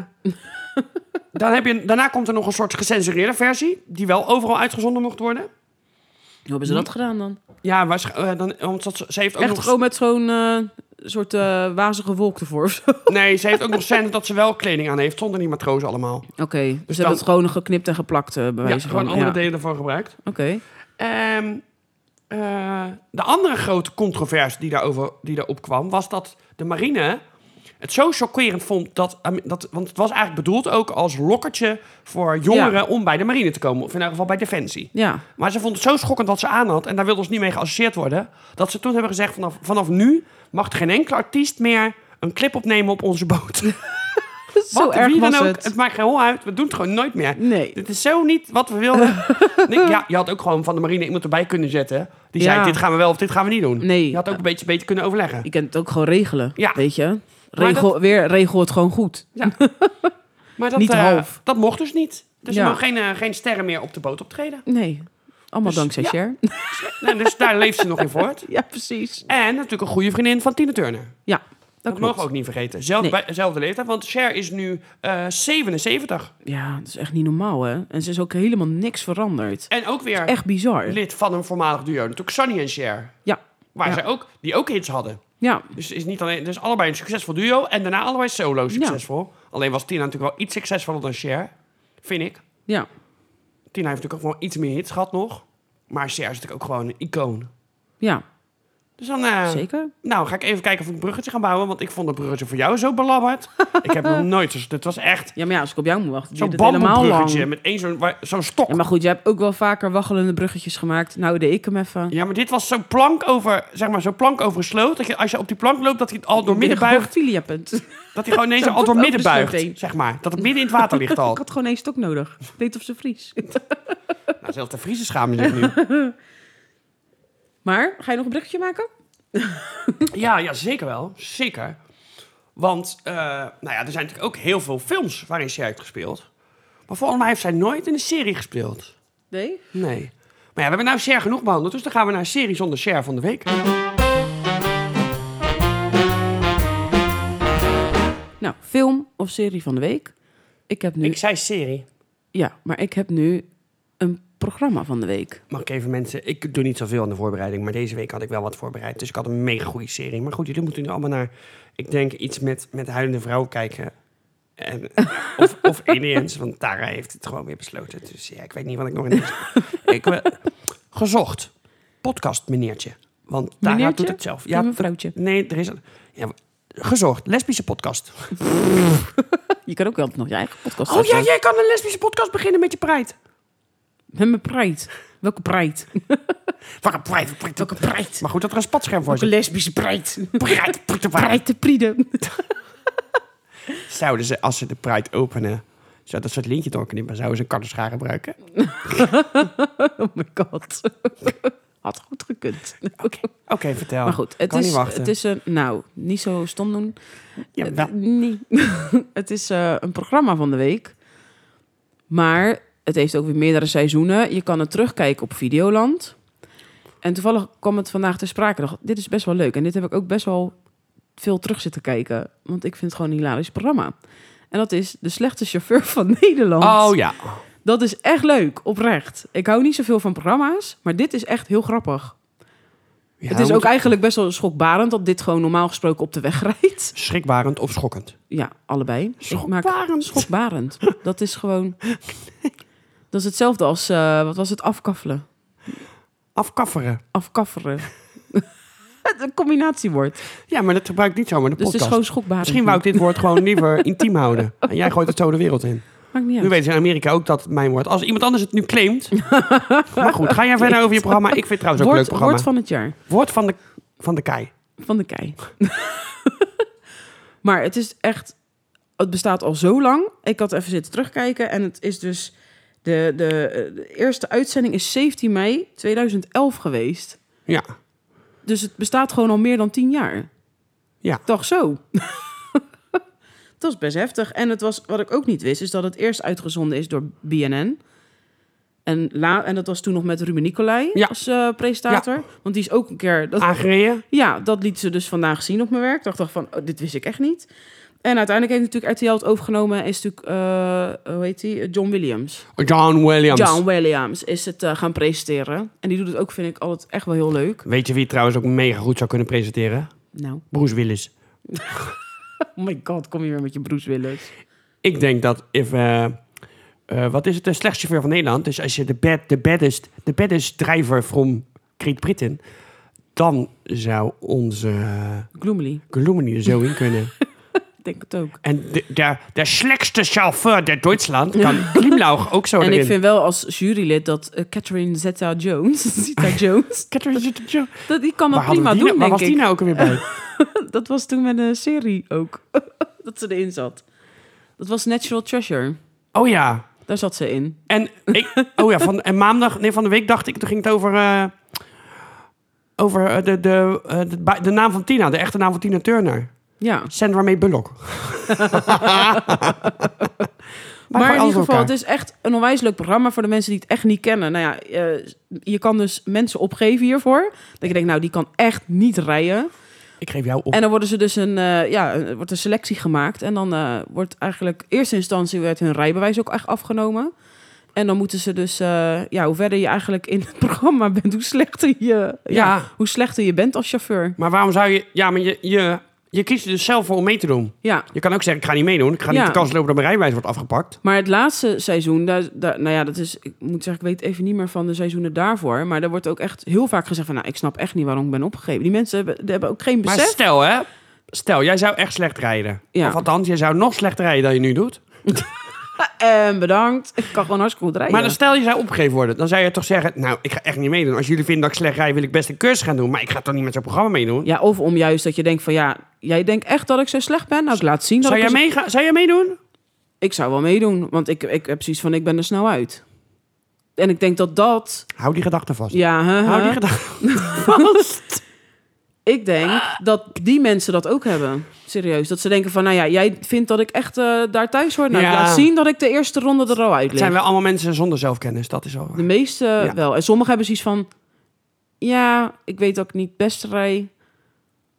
S2: dan heb je, daarna komt er nog een soort gecensureerde versie. Die wel overal uitgezonden mocht worden.
S1: Hoe hebben ze dat gedaan dan?
S2: Ja, waarsch- eh, dan, want dat- ze heeft ook
S1: Hm? Echt
S2: nog...
S1: gewoon met zo'n eh, soort eh, wazige wolk ervoor of zo. Oké.
S2: Nee, ze heeft ook nog scènes dat ze wel kleding aan heeft. Zonder die matrozen allemaal.
S1: Dus ze
S2: dan-
S1: hebben het gewoon geknipt en geplakt eh bij
S2: Ja,
S1: wijze
S2: gewoon
S1: van.
S2: andere
S1: ja.
S2: delen ervan gebruikt.
S1: Oké.
S2: Ehm, eh, de andere grote controverse die daarover die daarop kwam, was dat de marine het zo chockerend vond dat, eh, dat. Want het was eigenlijk bedoeld ook als lokkertje voor jongeren
S1: Ja.
S2: om bij de marine te komen. Of in elk geval bij Defensie.
S1: Ja.
S2: Maar ze vond het zo schokkend wat ze aan had. En daar wilde ze niet mee geassocieerd worden. Dat ze toen hebben gezegd: vanaf, vanaf nu mag geen enkele artiest meer een clip opnemen op onze boot.
S1: Zo
S2: Wat,
S1: erg
S2: wie
S1: was
S2: dan ook,
S1: het.
S2: maakt geen hol uit. We doen het gewoon nooit meer.
S1: Nee.
S2: Dit is zo niet wat we wilden. Nee, ja, je had ook gewoon van de marine iemand erbij kunnen zetten. Die
S1: Ja.
S2: zei, dit gaan we wel of dit gaan we niet doen.
S1: Nee.
S2: Je had ook een beetje beter kunnen overleggen.
S1: Je kunt het ook gewoon regelen.
S2: Ja.
S1: Weet je?
S2: Maar
S1: Regel, Weer regel het gewoon goed.
S2: Maar dat,
S1: Niet
S2: eh,
S1: half.
S2: dat mocht dus niet. Dus
S1: Ja.
S2: er mogen geen, eh, geen sterren meer op de boot optreden.
S1: Nee. Allemaal
S2: Dus,
S1: dankzij
S2: ja.
S1: Cher.
S2: Nou, dus daar leeft ze nog in voort.
S1: ja, precies.
S2: En natuurlijk een goede vriendin van Tina Turner.
S1: Ja, dat,
S2: Dat,
S1: klopt.
S2: mogen we ook niet vergeten. Zelf,
S1: Nee.
S2: bij, zelfde leeftijd, want Cher is nu eh, 77.
S1: Ja, dat is echt niet normaal, hè? En ze is ook helemaal niks veranderd.
S2: En ook weer
S1: Echt bizar.
S2: lid van een voormalig duo. Natuurlijk Sunny en Cher.
S1: Ja,
S2: Waar
S1: Ja.
S2: zij ook, die ook hits hadden.
S1: ja,
S2: Dus het is niet alleen, dus allebei een succesvol duo en daarna allebei solo succesvol. Alleen was Tina natuurlijk wel iets succesvoller dan Cher, vind ik.
S1: ja.
S2: Tina heeft natuurlijk ook wel iets meer hits gehad nog, maar Cher is natuurlijk ook gewoon een icoon.
S1: Ja,
S2: Dus dan, eh,
S1: zeker.
S2: nou ga ik even kijken of ik een bruggetje ga bouwen, want ik vond het bruggetje voor jou zo belabberd. ik heb nog nooit, dus dit was echt
S1: Ja, maar ja, als ik op jou moet wachten,
S2: zo'n
S1: duurt het helemaal
S2: bamboebruggetje
S1: lang.
S2: met één zo'n waar- zo'n stok.
S1: Ja, maar goed, jij hebt ook wel vaker waggelende bruggetjes gemaakt. Nou, deed ik hem even.
S2: dit was zo'n plank over, zeg maar, zo'n plank over een sloot. Dat je, als je op die plank loopt, dat hij het al door midden buigt.
S1: filia punt.
S2: Dat hij gewoon ineens
S1: Zo'n
S2: al door
S1: boek
S2: midden
S1: over de sloot
S2: buigt,
S1: heen.
S2: zeg maar. Dat het midden in het water ligt al.
S1: Ik had gewoon één stok nodig. Ik weet of ze vries.
S2: Nou, zelfs de Friese schamen zich nu.
S1: Maar, ga je nog een bruggetje maken?
S2: Ja, ja, zeker wel. Zeker. Want eh, nou ja, er zijn natuurlijk ook heel veel films waarin zij heeft gespeeld. Maar volgens mij heeft zij nooit in een serie gespeeld.
S1: Nee?
S2: Nee. Maar ja, we hebben nou Cher genoeg behandeld. Dus dan gaan we naar een serie zonder Cher van de week.
S1: Nou, film of serie van de week. Ik heb nu...
S2: Ik zei serie.
S1: Ja, maar ik heb nu een programma van de week.
S2: Mag ik even mensen... Ik doe niet zoveel aan de voorbereiding. Maar deze week had ik wel wat voorbereid. Dus ik had een mega goede serie. Maar goed, jullie moeten nu allemaal naar... Ik denk iets met, met huilende vrouwen kijken. En, of, of aliens. Want Tara heeft het gewoon weer besloten. Dus ja, ik weet niet wat ik nog in deze... ik wil- gezocht. Podcast meneertje. Want Tara
S1: Meneertje?
S2: doet het zelf.
S1: Doe een vrouwtje.
S2: Nee, er is... een- Ja, gezocht. Lesbische podcast.
S1: Je kan ook altijd nog je eigen podcast
S2: Oh ja,
S1: starten.
S2: jij kan een lesbische podcast beginnen met je pride.
S1: Met mijn pride. Welke pride?
S2: Wat een pride. pride,
S1: Welke
S2: pride.
S1: pride?
S2: Maar goed dat er een spatscherm voor
S1: Welke
S2: zit.
S1: lesbische pride?
S2: Pride, pride, pride.
S1: Pride te prieden.
S2: Zouden ze, als ze de pride openen... Zou dat soort lintje doorknippen? Zouden ze een kartenschaar gebruiken?
S1: Oh my god. Had goed gekund.
S2: Oké, oké, vertel.
S1: Maar goed, het
S2: kan
S1: is,
S2: niet wachten.
S1: het is een... Nou, niet zo stom doen.
S2: ja, wel-
S1: Nee. Eh, het is eh, een programma van de week. Maar het heeft ook weer meerdere seizoenen. Je kan het terugkijken op Videoland. En toevallig kwam het vandaag ter sprake. Ik dacht, Dit is best wel leuk. En dit heb ik ook best wel veel terug zitten kijken. Want ik vind het gewoon een hilarisch programma. En dat is De Slechte Chauffeur van Nederland.
S2: Oh ja.
S1: Dat is echt leuk, oprecht. Ik hou niet zoveel van programma's, maar dit is echt heel grappig.
S2: Ja,
S1: het is
S2: hoe
S1: ook
S2: moet-
S1: eigenlijk best wel schokbarend dat dit gewoon normaal gesproken op de weg rijdt.
S2: Schrikbarend of schokkend.
S1: Ja, allebei. Ik maak
S2: Schokbarend.
S1: schokbarend. Dat is gewoon. Dat is hetzelfde als eh, wat was het afkaffelen,
S2: Afkafferen.
S1: afkafferen. Het een combinatiewoord.
S2: Ja, maar dat gebruik ik niet zomaar in de
S1: Dus het is
S2: podcast.
S1: gewoon schokbarend.
S2: Misschien wou ik dit woord gewoon liever intiem houden. En jij gooit het zo de wereld in.
S1: Maakt niet
S2: Nu
S1: uit.
S2: weten ze in Amerika ook dat het mijn woord... Als iemand anders het nu claimt... maar goed, ga jij verder over je programma. Ik vind het trouwens ook
S1: Woord,
S2: een leuk programma.
S1: woord van het jaar.
S2: Woord van de, van de kei.
S1: Van de kei. maar het is echt... Het bestaat al zo lang. Ik had even zitten terugkijken. En het is dus... De, de, eh, de eerste uitzending is 17 mei 2011 geweest.
S2: Ja.
S1: Dus het bestaat gewoon al meer dan 10 jaar.
S2: Ja.
S1: Toch zo. dat is best heftig. En het was, wat ik ook niet wist, is dat het eerst uitgezonden is door BNN. En, la, en dat was toen nog met Ruben Nicolai
S2: Ja. Ah.
S1: als eh, presentator. Want die is ook een keer... Dat,
S2: Aangereden.
S1: ja, dat liet ze dus vandaag zien op mijn werk. Ik dacht van, oh, dit wist ik echt niet. En uiteindelijk heeft natuurlijk RTL het overgenomen. en Is natuurlijk, eh, hoe heet die? John Williams.
S2: John Williams.
S1: John Williams is het eh, gaan presenteren. En die doet het ook, vind ik, altijd echt wel heel leuk.
S2: Weet je wie het trouwens ook mega goed zou kunnen presenteren?
S1: Nou,
S2: Bruce Willis.
S1: oh my god, kom je weer met je Bruce Willis.
S2: Ik denk dat... If, eh, eh, wat is het? De slechtste chauffeur van Nederland. Dus als je de bad, the baddest, the baddest driver from Great Britain... Dan zou onze
S1: Gloomily,
S2: Gloomily er zo in kunnen.
S1: ik denk het ook.
S2: En de, de, de slechtste chauffeur der Duitsland kan Klimlauch ook zo
S1: En
S2: Oh, erin.
S1: ik vind wel als jurylid dat eh, Catherine Zeta-Jones, Zeta-Jones,
S2: Catherine Zeta-Jones.
S1: dat die kan dat
S2: Waar, hadden
S1: prima
S2: we die nou-
S1: doen,
S2: waar
S1: denk
S2: was die
S1: ik.
S2: nou ook weer bij?
S1: Dat was toen met een serie ook, dat ze erin zat. Dat was Natural Treasure,
S2: Oh ja.
S1: daar zat ze in.
S2: En, ik, oh ja, van, en maandag, nee, van de week dacht ik, toen ging het over, eh, over eh, de, de, eh, de, ba- de naam van Tina, de echte naam van Tina Turner.
S1: Ja,
S2: Sandra May Bullock.
S1: maar, in ieder geval,
S2: het
S1: het is echt een onwijs leuk programma voor de mensen die het echt niet kennen. Nou ja, eh, je kan dus mensen opgeven hiervoor. Dat je denkt, nou, die kan echt niet rijden.
S2: Ik geef jou op.
S1: En dan worden ze dus een, eh, ja, er wordt een selectie gemaakt. En dan eh, wordt eigenlijk eerste instantie werd hun rijbewijs ook echt afgenomen. En dan moeten ze dus, eh, ja, hoe verder je eigenlijk in het programma bent, hoe slechter je, ja.
S2: Ja.
S1: hoe slechter je bent als chauffeur.
S2: Maar waarom zou je... Ja, maar je, je, je kiest er dus zelf voor om mee te doen.
S1: Ja.
S2: Je kan ook zeggen, ik ga niet meedoen. Ik ga
S1: Ja.
S2: niet de kans lopen dat mijn rijwijs wordt afgepakt.
S1: Maar het laatste seizoen, daar, daar- nou ja, dat is, ik moet zeggen, ik weet even niet meer van de seizoenen daarvoor. Maar daar wordt ook echt heel vaak gezegd van, nou, ik snap echt niet waarom ik ben opgegeven. Die mensen hebben, die hebben ook geen
S2: Maar
S1: besef.
S2: stel hè, stel jij zou echt slecht rijden.
S1: Ja.
S2: Of althans, jij zou nog slechter rijden dan je nu doet.
S1: En bedankt, ik kan gewoon hartstikke goed rijden.
S2: Maar dan stel je zou opgegeven worden, dan zou je toch zeggen, nou, ik ga echt niet meedoen. Als jullie vinden dat ik slecht rijd, wil ik best een cursus gaan doen. Maar ik ga toch niet met zo'n programma meedoen.
S1: Ja, of om juist dat je denkt van ja, jij denkt echt dat ik zo slecht ben? Nou, ik laat zien dat
S2: Zou
S1: ik...
S2: jij,
S1: er-
S2: meega- zou jij meedoen?
S1: Ik zou wel meedoen, want ik, ik heb precies van ik ben er snel uit. En ik denk dat dat...
S2: Hou die gedachte vast.
S1: Ja, hè,
S2: Hou
S1: hè.
S2: die gedachte vast.
S1: ik denk dat die mensen dat ook hebben. Serieus. Dat ze denken van, nou ja, jij vindt dat ik echt eh, daar thuis hoor. Nou, ik
S2: Ja.
S1: laat zien dat ik de eerste ronde er al uit
S2: Het
S1: lig.
S2: zijn wel allemaal mensen zonder zelfkennis, dat is al waar.
S1: De meeste
S2: Ja.
S1: wel. En sommigen hebben zoiets van... Ja, ik weet dat ik niet best rij.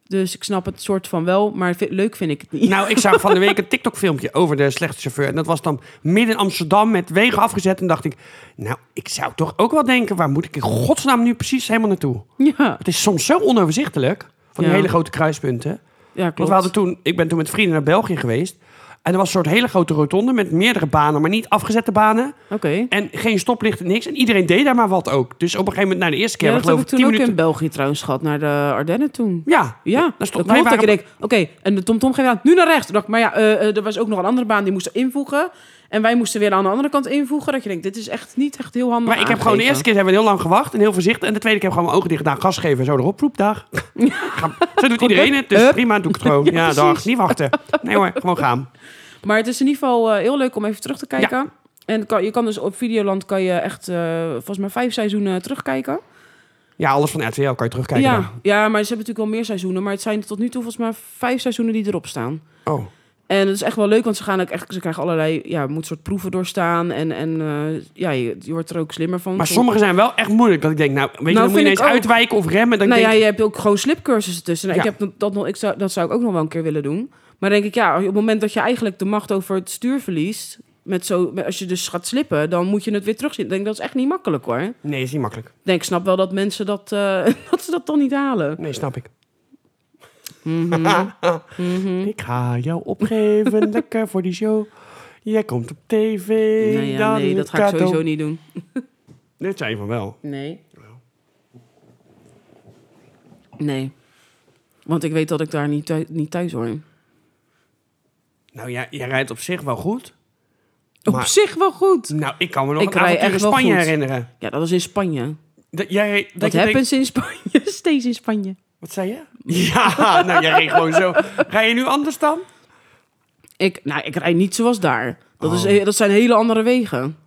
S1: Dus ik snap het soort van wel. Maar vi- leuk vind ik het niet.
S2: Nou, ik zag van de week een TikTok-filmpje over de slechte chauffeur. En dat was dan midden in Amsterdam met wegen afgezet. En dacht ik, nou, ik zou toch ook wel denken... waar moet ik in godsnaam nu precies helemaal naartoe?
S1: ja,
S2: Het is soms zo onoverzichtelijk, van die
S1: Ja.
S2: hele grote kruispunten.
S1: ja,
S2: Want
S1: klopt.
S2: we hadden toen, ik ben toen met vrienden naar België geweest. er was een soort hele grote rotonde met meerdere banen, maar niet afgezette banen.
S1: Oké.
S2: En geen stoplichten, niks. En iedereen deed daar maar wat ook. Dus op een gegeven moment, nou, de eerste keer,
S1: Ja,
S2: we
S1: dat heb
S2: geloof
S1: ik
S2: ik,
S1: toen
S2: tien
S1: ook
S2: minuten...
S1: in België trouwens gehad, naar de Ardennen toen.
S2: Ja,
S1: Ja,
S2: is
S1: dat,
S2: toch-
S1: klopt.
S2: wij
S1: dat ik
S2: waren-
S1: denk, oké, en de TomTom ging aan, nu naar rechts. Toen dacht ik, maar ja, eh, eh, er was ook nog een andere baan die moest invoegen. En wij moesten weer aan de andere kant invoegen. Dat je denkt, dit is echt niet echt heel handig
S2: Maar ik heb gewoon de eerste keer hebben we heel lang gewacht en heel voorzichtig. En de tweede keer heb ik gewoon mijn ogen dicht gedaan, gas geven en zo erop, roepdag. Ga- zo doet iedereen het, dus
S1: Hup.
S2: prima, doe ik het gewoon. Ja,
S1: precies.
S2: dag, niet wachten. Nee hoor, gewoon gaan.
S1: Maar het is in ieder geval eh, heel leuk om even terug te kijken. En kan, je kan dus op Videoland kan je echt, eh, volgens mij, vijf seizoenen terugkijken.
S2: Ja, alles van RTL kan je terugkijken.
S1: ja,
S2: dan.
S1: ja, maar ze hebben natuurlijk wel meer seizoenen. Maar het zijn tot nu toe volgens mij vijf seizoenen die erop staan.
S2: Oh,
S1: En dat is echt wel leuk, want ze gaan ook echt, ze krijgen allerlei, ja, moet soort proeven doorstaan. En, en eh, ja, je, je wordt er ook slimmer van.
S2: maar
S1: Soms-
S2: sommige zijn wel echt moeilijk. Dat ik denk, nou, weet je, dan
S1: vind
S2: moet je ineens
S1: ik ook.
S2: uitwijken of remmen. Dan
S1: nou
S2: denk,
S1: ja, je hebt ook gewoon slipcursussen tussen. Nou,
S2: Ja.
S1: Ik heb dat- dat nog, ik zou, dat zou ik ook nog wel een keer willen doen. Maar dan denk ik, ja, op het moment dat je eigenlijk de macht over het stuur verliest, met zo, met- als je dus gaat slippen, dan moet je het weer terugzien. Ik denk dat is echt niet makkelijk hoor. Ik
S2: Nee, is niet makkelijk.
S1: Denk, ik snap wel dat mensen dat, eh, dat ze dat dan niet halen.
S2: Nee, snap ik.
S1: Mhm.
S2: Ik ga jou opgeven, lekker voor die show. Jij komt op tv.
S1: Nee, Nou ja,
S2: dan
S1: nee,
S2: een
S1: dat ga ik
S2: cadeau.
S1: sowieso niet doen.
S2: Dit zijn van wel.
S1: Nee.
S2: Nou.
S1: Nee. Want ik weet dat ik daar niet thuis, niet thuis hoor.
S2: Nou ja, jij rijdt op zich wel goed.
S1: Op
S2: Maar-
S1: zich wel goed.
S2: Nou, ik kan me nog
S1: Ik
S2: een
S1: rij
S2: avontuur
S1: echt
S2: in
S1: wel
S2: Spanje
S1: goed.
S2: herinneren.
S1: Ja, dat was in Spanje.
S2: Dat, jij, reed- dat
S1: Dat
S2: je denkt-
S1: happens in Spanje. Steeds in Spanje.
S2: Wat zei je? Ja, nou jij reed gewoon zo. Ga je nu anders dan?
S1: Ik, nou, ik rijd niet zoals daar. Dat,
S2: Oh.
S1: is, he- dat zijn hele andere wegen.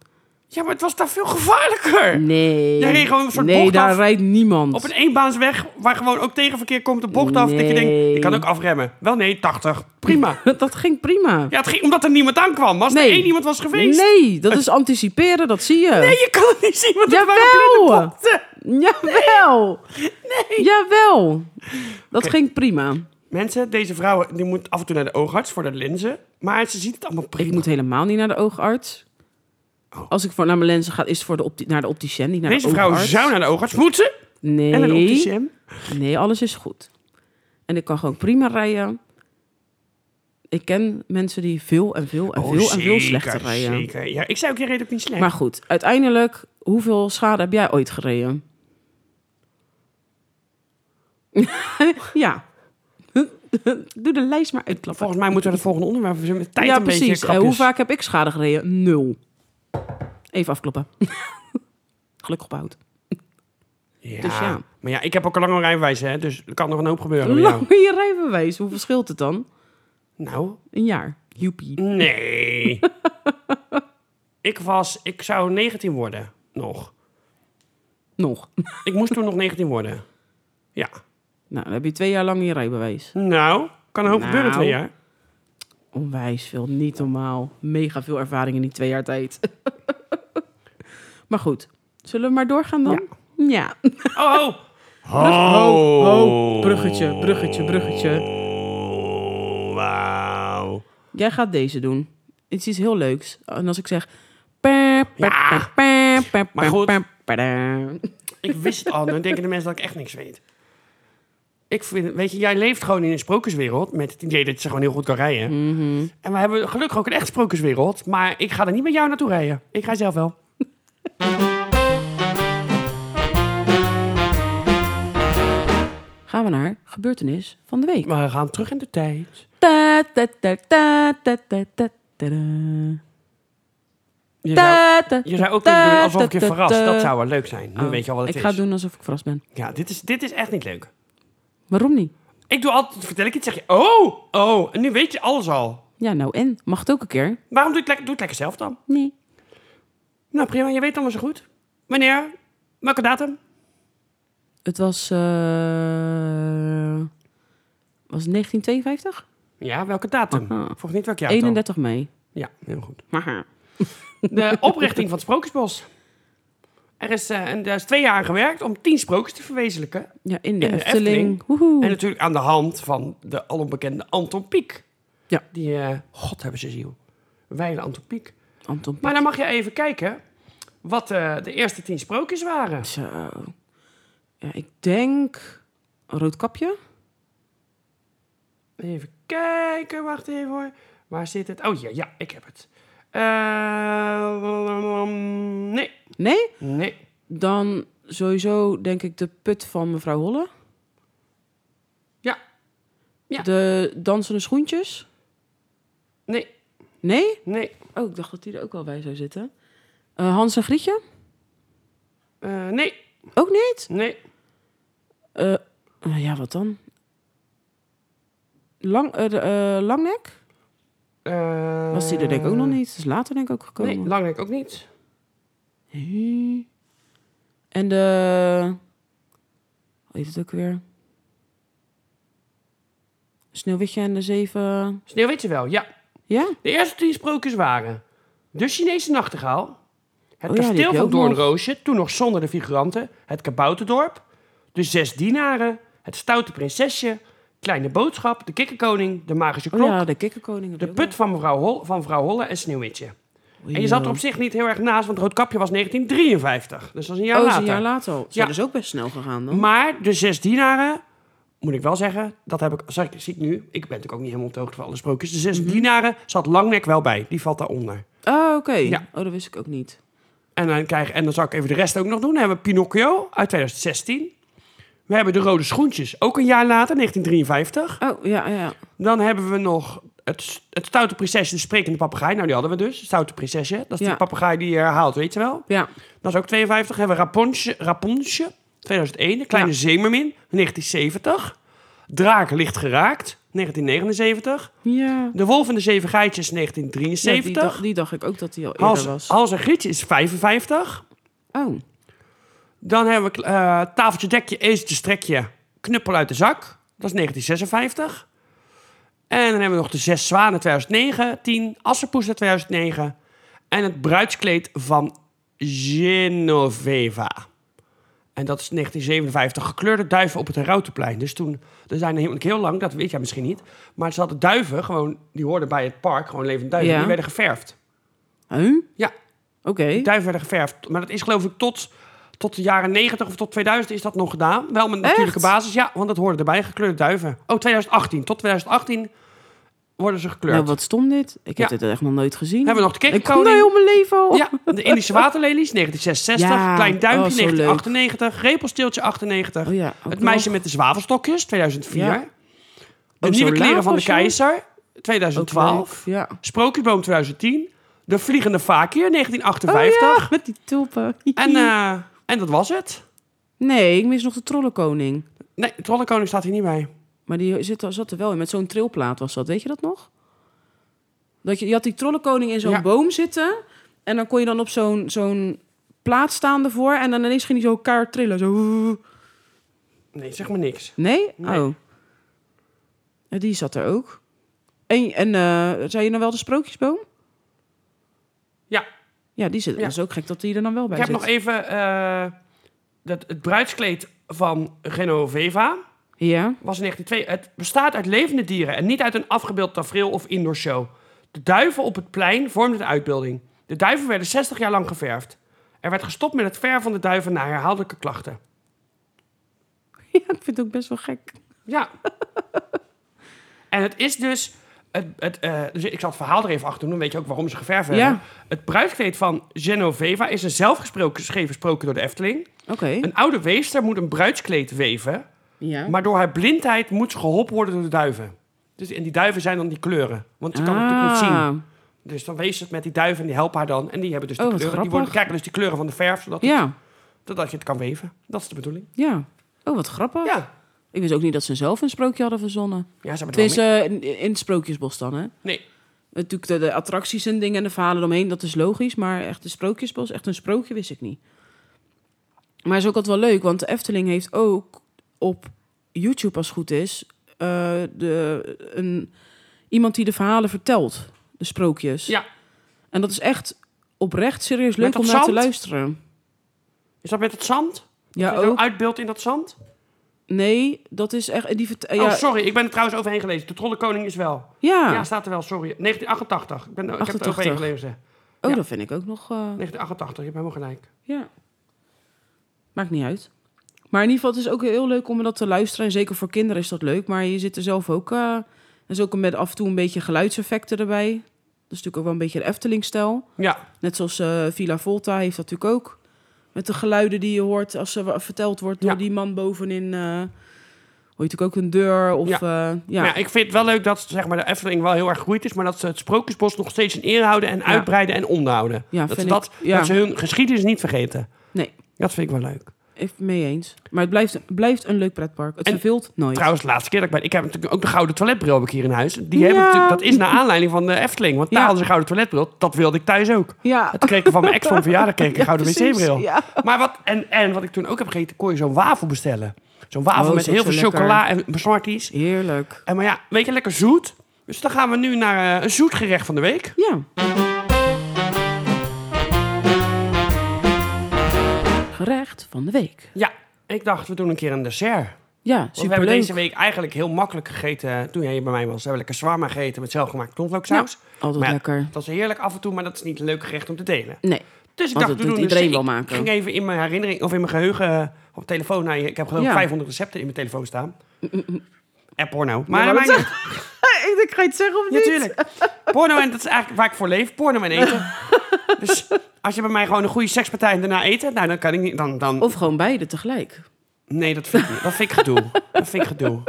S2: Ja, maar het was daar veel gevaarlijker.
S1: Nee.
S2: Jij reed gewoon een soort
S1: Nee,
S2: bocht
S1: daar
S2: af.
S1: rijdt niemand.
S2: Op een eenbaansweg waar gewoon ook tegenverkeer komt de bocht af. Dat je
S1: Nee.
S2: denkt, je kan ook afremmen. Wel nee, 80. Prima.
S1: Dat ging prima.
S2: Ja, het ging omdat er niemand aankwam. Als
S1: Nee.
S2: er één iemand was geweest.
S1: Nee, dat is anticiperen, dat zie je.
S2: Nee, je kan het niet zien, want er
S1: Jawel.
S2: waren blinde bochten.
S1: Jawel. Nee. Jawel. Dat
S2: Oké.
S1: ging prima.
S2: Mensen, deze vrouwen, die moet af en toe naar de oogarts voor de lenzen. Maar ze ziet het allemaal prima.
S1: Ik moet helemaal niet naar de oogarts. Als ik voor naar mijn lenzen ga, is het voor de opti- naar de opticien, niet naar
S2: Oh. Deze
S1: de
S2: vrouw
S1: oogarts.
S2: zou naar de oogarts moeten.
S1: Nee.
S2: En een opticien.
S1: Nee, alles is goed. En ik kan gewoon prima rijden. Ik ken mensen die veel en veel en veel en veel slechter rijden.
S2: Oh, Zeker. Ja, ik zei ook, je reed ook niet slecht.
S1: Maar goed, uiteindelijk, hoeveel schade heb jij ooit gereden? ja. Doe de lijst maar uitklappen.
S2: Volgens mij moeten we het volgende onderwerp verzinnen. Met tijd
S1: Ja,
S2: een
S1: precies.
S2: beetje
S1: En hoe
S2: krapjes.
S1: vaak heb ik schade gereden? Nul. Even afkloppen. Gelukkig op hout.
S2: Ja.
S1: dus ja.
S2: Maar ja, ik heb ook een lange rijbewijs, hè. Dus er kan nog een hoop gebeuren met jou.
S1: Lang je rijbewijs. Hoeveel scheelt het dan?
S2: Nou,
S1: Een jaar. Joepie.
S2: nee. ik was... Ik zou 19 worden. Nog.
S1: Nog.
S2: Ik moest toen nog 19 worden. Ja.
S1: Nou, dan heb je twee jaar lang je rijbewijs.
S2: Nou, kan een hoop
S1: Nou.
S2: gebeuren in twee jaar.
S1: Onwijs veel, niet normaal. Mega veel ervaring in die twee jaar tijd. maar goed, zullen we maar doorgaan dan? Ja.
S2: Oh!
S1: Brug- ho, ho, bruggetje, bruggetje, bruggetje.
S2: Oh. Wauw.
S1: Jij gaat deze doen. Het is iets heel leuks. En als ik zeg... pa, pa,
S2: Ja.
S1: pa, pa, pa, pa,
S2: Maar goed.
S1: pa, pa, da.
S2: Ik wist het al. Dan denken de mensen dat ik echt niks weet. Ik vind, weet je, jij leeft gewoon in een sprookjeswereld met het idee dat je gewoon heel goed kan rijden. En we hebben gelukkig ook een echt sprookjeswereld, maar ik ga er niet met jou naartoe rijden. Ik rij zelf wel.
S1: Gaan we naar gebeurtenis van de week.
S2: Maar we gaan terug in de tijd.
S1: Ta, ta, ta, ta, ta, ta, ta, ta, da.
S2: Je zou,
S1: Ta, ta,
S2: je zou ook
S1: ta,
S2: kunnen doen alsof ik je
S1: ta, ta,
S2: verrast.
S1: ta.
S2: Dat zou wel leuk zijn. Nu
S1: Oh,
S2: weet je al wat het
S1: Ik
S2: is.
S1: ga doen alsof ik verrast ben.
S2: Ja, dit is, dit is echt niet leuk.
S1: Waarom niet?
S2: Ik doe altijd, vertel ik iets, zeg je, oh, oh, en nu weet je alles al.
S1: Ja, nou en? Mag het ook een keer?
S2: Waarom doe ik lekker, doe het lekker zelf dan?
S1: Nee.
S2: Nou prima, je weet allemaal zo goed. Wanneer? Welke datum?
S1: Het was. eh, was het 1952?
S2: Ja, welke datum?
S1: Aha.
S2: Volgens niet welk jaar het al.
S1: 31 mei.
S2: Ja, heel goed.
S1: Haha.
S2: De oprichting van het Sprookjesbos. Er is, eh, en daar is twee jaar aan gewerkt om tien sprookjes te verwezenlijken.
S1: Ja, in de
S2: In de
S1: Efteling.
S2: Efteling.
S1: Woehoe.
S2: En natuurlijk aan de hand van de alonbekende Anton Pieck.
S1: Ja.
S2: Die, eh, god hebben ze ziel, wijle Anton Pieck.
S1: Anton
S2: Maar dan mag je even kijken wat eh, de eerste tien sprookjes waren.
S1: Pieck. Zo. Ja, ik denk. Roodkapje?
S2: Even kijken, wacht even hoor. Waar zit het? Oh ja, ja, ik heb het. Eh, nee,
S1: Nee?
S2: nee.
S1: Dan sowieso denk ik de put van mevrouw Holle.
S2: Ja. Ja.
S1: De dansende schoentjes.
S2: Nee,
S1: Nee?
S2: nee.
S1: Oh, ik dacht dat die er ook al bij zou zitten. Eh, Hans en Grietje?
S2: Eh, nee,
S1: Ook niet?
S2: nee.
S1: Eh, eh, ja, wat dan? Lang, eh, de, eh, Langnek?
S2: Eh,
S1: Was die er denk ik ook nog niet. Dat is later denk ik ook gekomen.
S2: Nee, Langnek ook niet.
S1: Hé. En de... Hoe heet het ook weer? Sneeuwwitje en de zeven...
S2: Sneeuwwitje wel, ja.
S1: Ja?
S2: De eerste drie sprookjes waren de Chinese nachtegaal, het
S1: Oh ja, die heb
S2: kasteel
S1: je
S2: van
S1: ook nog.
S2: Doornroosje, toen nog zonder de figuranten, het kabouterdorp, de zes dienaren, het stoute prinsesje, kleine boodschap, de kikkerkoning, de magische
S1: Oh
S2: klok,
S1: ja, de kikkerkoning. heb
S2: de
S1: je ook eh, nog.
S2: put van mevrouw, Hol, van mevrouw Holle en Sneeuwwitje. En je zat er op zich niet heel erg naast, want Roodkapje was 1953. Dus dat is een jaar
S1: Oh, dat is
S2: later.
S1: een jaar later al. Zo,
S2: Ja.
S1: dat is dus ook best snel gegaan dan.
S2: Maar de zes dienaren, moet ik wel zeggen, dat heb ik, zeg, ik- zie ik nu. Ik ben natuurlijk ook niet helemaal op de hoogte van alle sprookjes. De zes dienaren zat Langnek wel bij, die valt daaronder.
S1: Oh, oké.
S2: Ja.
S1: Oh, dat wist ik ook niet.
S2: En dan, krijg, en dan zal ik even de rest ook nog doen. Dan hebben we Pinocchio uit 2016. We hebben De Rode Schoentjes, ook een jaar later, 1953.
S1: Oh, ja, ja.
S2: Dan hebben we nog het, het Stoute Prinsesje, de Sprekende Papegaai. Nou, die hadden we dus. Stoute Prinsesje. Dat is
S1: Ja.
S2: die papegaai die je herhaalt, weet je wel.
S1: Ja,
S2: Dat is ook 52. Dan hebben we Rapunzel, Rapunzel 2001. De Kleine
S1: Ja.
S2: Zeemermin, 1970. Draak licht geraakt, 1979.
S1: ja.
S2: De Wolf en de Zeven Geitjes,
S1: Ja, die,
S2: 1973.
S1: dacht, die dacht ik ook dat die al eerder
S2: Hans,
S1: was.
S2: Hans en Grietje is 55.
S1: Oh,
S2: Dan hebben we eh, tafeltje, dekje, ezeltje, strekje, knuppel uit de zak. Dat is 1956. En dan hebben we nog de Zes Zwanen 2009, 10 Assenpoes uit 2009 en het bruidskleed van Genoveva. En dat is 1957, gekleurde duiven op het Herautenplein. Dus toen, er zijn er heel, heel lang, dat weet jij misschien niet, maar ze hadden duiven, gewoon, die hoorden bij het park, gewoon levend duiven,
S1: Ja.
S2: die werden geverfd.
S1: huh?
S2: Ja,
S1: Oké.
S2: die duiven werden geverfd. Maar dat is geloof ik tot, tot de jaren 90 of tot 2000 is dat nog gedaan. Wel met natuurlijke
S1: Echt?
S2: basis, ja, want dat hoorde erbij, gekleurde duiven. Oh, 2018. Tot 2018 worden ze gekleurd.
S1: Nou, wat stom dit. Ik heb
S2: Ja.
S1: dit echt nog nooit gezien.
S2: Hebben we nog de
S1: Ik kom daar
S2: kikkerkoning?
S1: heel mijn leven al.
S2: Ja, de Indische waterlelies, 1966.
S1: Ja,
S2: Klein
S1: oh,
S2: duimpje,
S1: zo
S2: 1998. Repelsteeltje, 98.
S1: Oh ja, ook
S2: het meisje
S1: nog.
S2: met de zwavelstokjes, 2004.
S1: Ja.
S2: De
S1: Ook zo
S2: nieuwe kleren
S1: laat
S2: van de
S1: was je?
S2: keizer,
S1: Ook
S2: 2012.
S1: leuk, Ja.
S2: Sprookjesboom, 2010. De vliegende fakir,
S1: Oh
S2: 1958.
S1: ja, met die tulpen.
S2: en, eh, en dat was het.
S1: nee, ik mis nog de trollenkoning.
S2: Nee, Trollenkoning staat hier niet bij.
S1: Maar die zit, er- zat er wel in. Met zo'n trilplaat was dat. Weet je dat nog? Dat je, je had die trollenkoning in zo'n
S2: Ja.
S1: boom zitten. En dan kon je dan op zo'n zo'n plaat staan ervoor. En dan ineens ging hij zo elkaar trillen. Zo.
S2: Nee, zeg maar niks.
S1: Nee?
S2: Nee.
S1: Oh. Ja, die zat er ook. En, en eh, zei je nou wel de sprookjesboom?
S2: Ja,
S1: Ja, die zit.
S2: Ja.
S1: Dat is ook gek dat die er dan wel bij
S2: ik heb
S1: zit.
S2: nog even eh, dat, het bruidskleed van Genoveva.
S1: Ja.
S2: Was in 1902. Het bestaat uit levende dieren en niet uit een afgebeeld tafereel of indoor show. De duiven op het plein vormden de uitbeelding. De duiven werden 60 jaar lang geverfd. Er werd gestopt met het verven van de duiven na herhaaldelijke klachten.
S1: ja, ik vind het ook best wel gek.
S2: Ja. en het is dus. Het, het, eh, dus ik zal het verhaal er even achter doen, dan weet je ook waarom ze geverfd
S1: Ja.
S2: hebben. Het bruidskleed van Genoveva is een zelfgeschreven sprookje door de Efteling.
S1: Oké.
S2: Een oude weester moet een bruidskleed weven,
S1: Ja.
S2: maar door haar blindheid moet ze geholpen worden door de duiven. Dus, en die duiven zijn dan die kleuren, want ze kan het natuurlijk niet zien.
S1: Ah.
S2: Dus dan wees het met die duiven en die helpen haar dan. En die hebben dus die
S1: Oh, wat
S2: kleuren.
S1: grappig.
S2: Die worden, krijgen dus die kleuren van de verf, zodat, het-
S1: Ja.
S2: zodat je het kan weven. Dat is de bedoeling.
S1: Ja. Oh, wat grappig.
S2: Ja,
S1: Ik wist ook niet dat ze zelf een sprookje hadden verzonnen.
S2: ja ze hebben
S1: Het
S2: er wel
S1: is
S2: mee.
S1: in, in het Sprookjesbos dan, hè?
S2: Nee,
S1: Natuurlijk de, de attracties en dingen en de verhalen omheen, dat is logisch. Maar echt een Sprookjesbos, echt een sprookje, wist ik niet. Maar is ook altijd wel leuk, want de Efteling heeft ook op YouTube, als het goed is, eh, de, een, iemand die de verhalen vertelt. De sprookjes.
S2: ja.
S1: En dat is echt oprecht serieus
S2: Met
S1: leuk
S2: dat
S1: om naar te
S2: zand?
S1: luisteren.
S2: Is dat met het zand?
S1: Ja,
S2: Is er een
S1: ook.
S2: uitbeeld in dat zand?
S1: Nee, dat is echt... Die vert-
S2: Oh,
S1: ja, Ah.
S2: sorry, ik ben er trouwens overheen gelezen. De Trollenkoning is wel.
S1: ja.
S2: Ja, staat er wel, sorry. 1988. Ik, ben, ik heb er
S1: 88.
S2: overheen gelezen.
S1: Oh,
S2: ja.
S1: dat vind ik ook nog... eh,
S2: 1988, je hebt helemaal gelijk.
S1: Ja. Maakt niet uit. Maar in ieder geval, het is ook heel leuk om dat te luisteren. En zeker voor kinderen is dat leuk. Maar je zit er zelf ook eh, is ook met af en toe een beetje geluidseffecten erbij. Dat is natuurlijk ook wel een beetje de Efteling-stijl.
S2: Ja,
S1: Net zoals eh, Villa Volta heeft dat natuurlijk ook. Met de geluiden die je hoort als ze wa- verteld wordt door
S2: Ja.
S1: die man bovenin. eh hoor je natuurlijk ook een deur of...
S2: Ja.
S1: eh, Ja,
S2: Maar ja, ik vind het wel leuk dat zeg maar, de Efteling wel heel erg gegroeid is... maar dat ze het Sprookjesbos nog steeds in ere houden... en uitbreiden en onderhouden.
S1: Ja,
S2: dat, ze
S1: vind
S2: dat,
S1: ik- ja.
S2: dat ze hun geschiedenis niet vergeten.
S1: Nee.
S2: Dat vind ik wel leuk.
S1: ik ben mee eens. Maar het blijft, blijft een leuk pretpark. Het
S2: En-
S1: verveelt nooit.
S2: Trouwens, de laatste keer dat ik ben... Ik heb natuurlijk ook de gouden toiletbril heb ik hier in huis. Die heb ik
S1: Ja.
S2: natuurlijk, dat is naar aanleiding van de Efteling. Want daar
S1: Ja.
S2: hadden ze een gouden toiletbril. Dat wilde ik thuis ook.
S1: ja,
S2: Het kreeg ik van mijn ex van verjaardag kreeg ik een gouden
S1: precies.
S2: wc-bril.
S1: Ja.
S2: Maar wat, en, en wat ik toen ook heb gegeten, kon je zo'n wafel bestellen. Zo'n wafel
S1: Oh,
S2: met
S1: is ook
S2: heel veel
S1: zo lekker.
S2: chocola en smarties.
S1: Heerlijk.
S2: En maar ja, weet je, lekker zoet. Dus dan gaan we nu naar eh, een zoet gerecht van de week.
S1: Ja. Gerecht van de week.
S2: Ja, ik dacht, we doen een keer een dessert.
S1: Ja,
S2: Want we hebben
S1: superleuk.
S2: deze week eigenlijk heel makkelijk gegeten. eh, Toen jij hier bij mij was, hebben we lekker zwarma gegeten met zelfgemaakte knoflooksaus.
S1: Altijd
S2: Maar ja,
S1: lekker.
S2: Dat is heerlijk af en toe, maar dat is niet een leuk gerecht om te delen.
S1: Nee.
S2: Dus ik
S1: Want
S2: dacht,
S1: dat
S2: we
S1: doet
S2: doen
S1: iedereen
S2: een
S1: wel
S2: ik-
S1: maken.
S2: Ik ging even in mijn herinnering of in mijn geheugen eh, op telefoon naar je. Ik heb geloof ik
S1: Ja.
S2: 500 recepten in mijn telefoon staan. En porno. Maar,
S1: wou
S2: dat
S1: net
S2: maakt niet
S1: ik ga je het zeggen of
S2: uit. natuurlijk. porno en dat is eigenlijk waar ik voor leef. Porno en eten. dus als je bij mij gewoon een goede sekspartij en daarna eten, nou dan kan ik niet. Dan, dan...
S1: Of gewoon beide tegelijk.
S2: Nee, dat vind ik niet. Dat vind ik gedoe. dat vind ik gedoe.